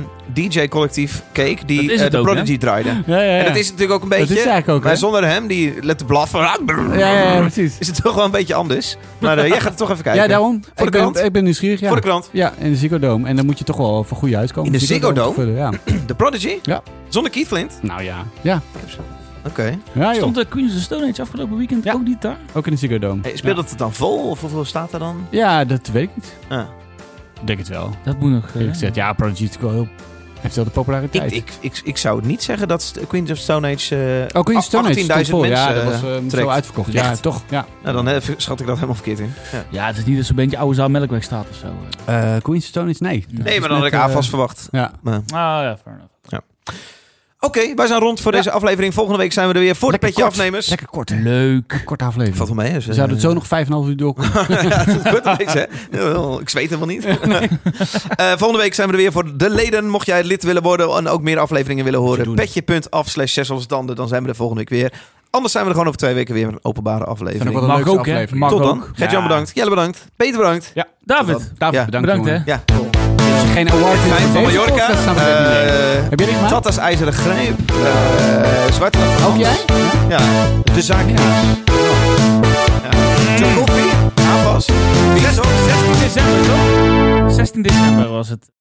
Speaker 3: DJ-collectief keek die
Speaker 2: Dat is
Speaker 3: eh,
Speaker 2: het
Speaker 3: de
Speaker 2: ook,
Speaker 3: Prodigy draaide.
Speaker 1: Ja, ja, ja.
Speaker 3: En dat is natuurlijk ook een beetje...
Speaker 1: Dat is eigenlijk ook,
Speaker 3: maar
Speaker 1: hè?
Speaker 3: zonder hem, die let te blaffen...
Speaker 1: Ja, ja, ja, precies.
Speaker 3: [LAUGHS] Is het toch wel een beetje anders. Maar eh, jij gaat het toch even kijken.
Speaker 1: Ja, daarom.
Speaker 3: de
Speaker 1: ik, ben,
Speaker 3: krant.
Speaker 1: ik ben nieuwsgierig, ja.
Speaker 3: Voor de krant.
Speaker 1: Ja, in de Ziggo Dome. En dan moet je toch wel voor goede huis komen.
Speaker 3: In de Ziggo
Speaker 1: te
Speaker 3: Dome?
Speaker 1: vullen,
Speaker 3: [CLEARS THROAT]
Speaker 1: Ja.
Speaker 3: De Prodigy?
Speaker 1: Ja.
Speaker 3: Zonder Keith Flint?
Speaker 1: Nou ja. Ja,
Speaker 3: Oké.
Speaker 1: ja joh.
Speaker 2: Stond de Queens of the Stone Age afgelopen weekend
Speaker 1: Ja.
Speaker 2: ook niet daar?
Speaker 1: Ook in de Ziggo Dome.
Speaker 3: Hey, speelt het dan vol? Of hoeveel staat er dan?
Speaker 1: Ja, dat weet ik niet.
Speaker 3: Ah.
Speaker 1: Ik Denk het wel.
Speaker 2: Dat moet nog... eh,
Speaker 1: Eerlijk gezegd, ja, Prodigy is wel heel... Heeft wel de
Speaker 3: Ik,
Speaker 1: populariteit.
Speaker 3: ik, ik, ik zou het niet zeggen dat st- Queens of Stone Age... eh,
Speaker 1: ook in Oh, Stone Age
Speaker 3: 18.000
Speaker 1: stond vol.
Speaker 3: mensen
Speaker 1: Ja, dat was eh,
Speaker 3: eh,
Speaker 1: zo
Speaker 3: trekt.
Speaker 1: uitverkocht. Ja,
Speaker 3: Echt?
Speaker 1: toch. Ja.
Speaker 3: Nou, dan eh, schat ik dat helemaal verkeerd
Speaker 1: [LAUGHS]
Speaker 3: in. Ja.
Speaker 2: Ja, het is niet dat zo'n beetje oude zaal Melkweg staat of zo. eh.
Speaker 1: Eh Queen's Stone Age, nee.
Speaker 2: Nee,
Speaker 1: Dat
Speaker 3: Nee,
Speaker 1: is
Speaker 3: maar dan had
Speaker 1: net, eh,
Speaker 3: ik AFAS verwacht.
Speaker 1: Ja.
Speaker 2: Ah ja, fair enough.
Speaker 3: Oké, wij zijn rond voor deze aflevering. Volgende week zijn we er weer voor
Speaker 1: Lekker
Speaker 3: de petje
Speaker 1: kort.
Speaker 3: afnemers.
Speaker 1: Lekker kort, eh, hè?
Speaker 2: Leuk.
Speaker 1: Korte aflevering.
Speaker 3: Valt wel mee. Dus,
Speaker 1: We zouden het zo
Speaker 3: [LAUGHS]
Speaker 1: nog 5,5 uur door [LAUGHS] kunnen.
Speaker 3: Goed opeens, hè?
Speaker 1: [LAUGHS]
Speaker 3: Jawel, Ik zweet helemaal niet. [LAUGHS] Eh, volgende week zijn we er weer voor de leden. Mocht jij lid willen worden en ook meer afleveringen willen horen,
Speaker 1: doen.
Speaker 3: petje.af slash zes als tanden. Dan zijn we er volgende week weer. Anders zijn we er gewoon over twee weken weer met een openbare aflevering.
Speaker 1: Zijn er wel
Speaker 2: Mag
Speaker 1: leuke
Speaker 2: ook, hè?
Speaker 1: aflevering.
Speaker 2: Mag
Speaker 3: Tot dan.
Speaker 2: ook.
Speaker 3: Gert-Jan bedankt. Jelle bedankt. Peter bedankt.
Speaker 1: Ja,
Speaker 2: David.
Speaker 1: David,
Speaker 3: Ja.
Speaker 1: bedankt,
Speaker 2: Bedankt, hè.
Speaker 1: jongen.
Speaker 3: Ja,
Speaker 1: Als je geen award hebt
Speaker 3: Fijn
Speaker 1: voor
Speaker 3: van
Speaker 1: deze
Speaker 3: Mallorca.
Speaker 1: podcast, dan ben je niet mee.
Speaker 3: Eh,
Speaker 1: Heb je dit gemaakt?
Speaker 3: Tata's IJzeren Greep. eh Zwarte Nacht van
Speaker 1: Ook jij?
Speaker 3: Hans. Ja, de zaak. Ja. De koffie. Aanpas. Zes op, zes op.
Speaker 2: 16 december was het.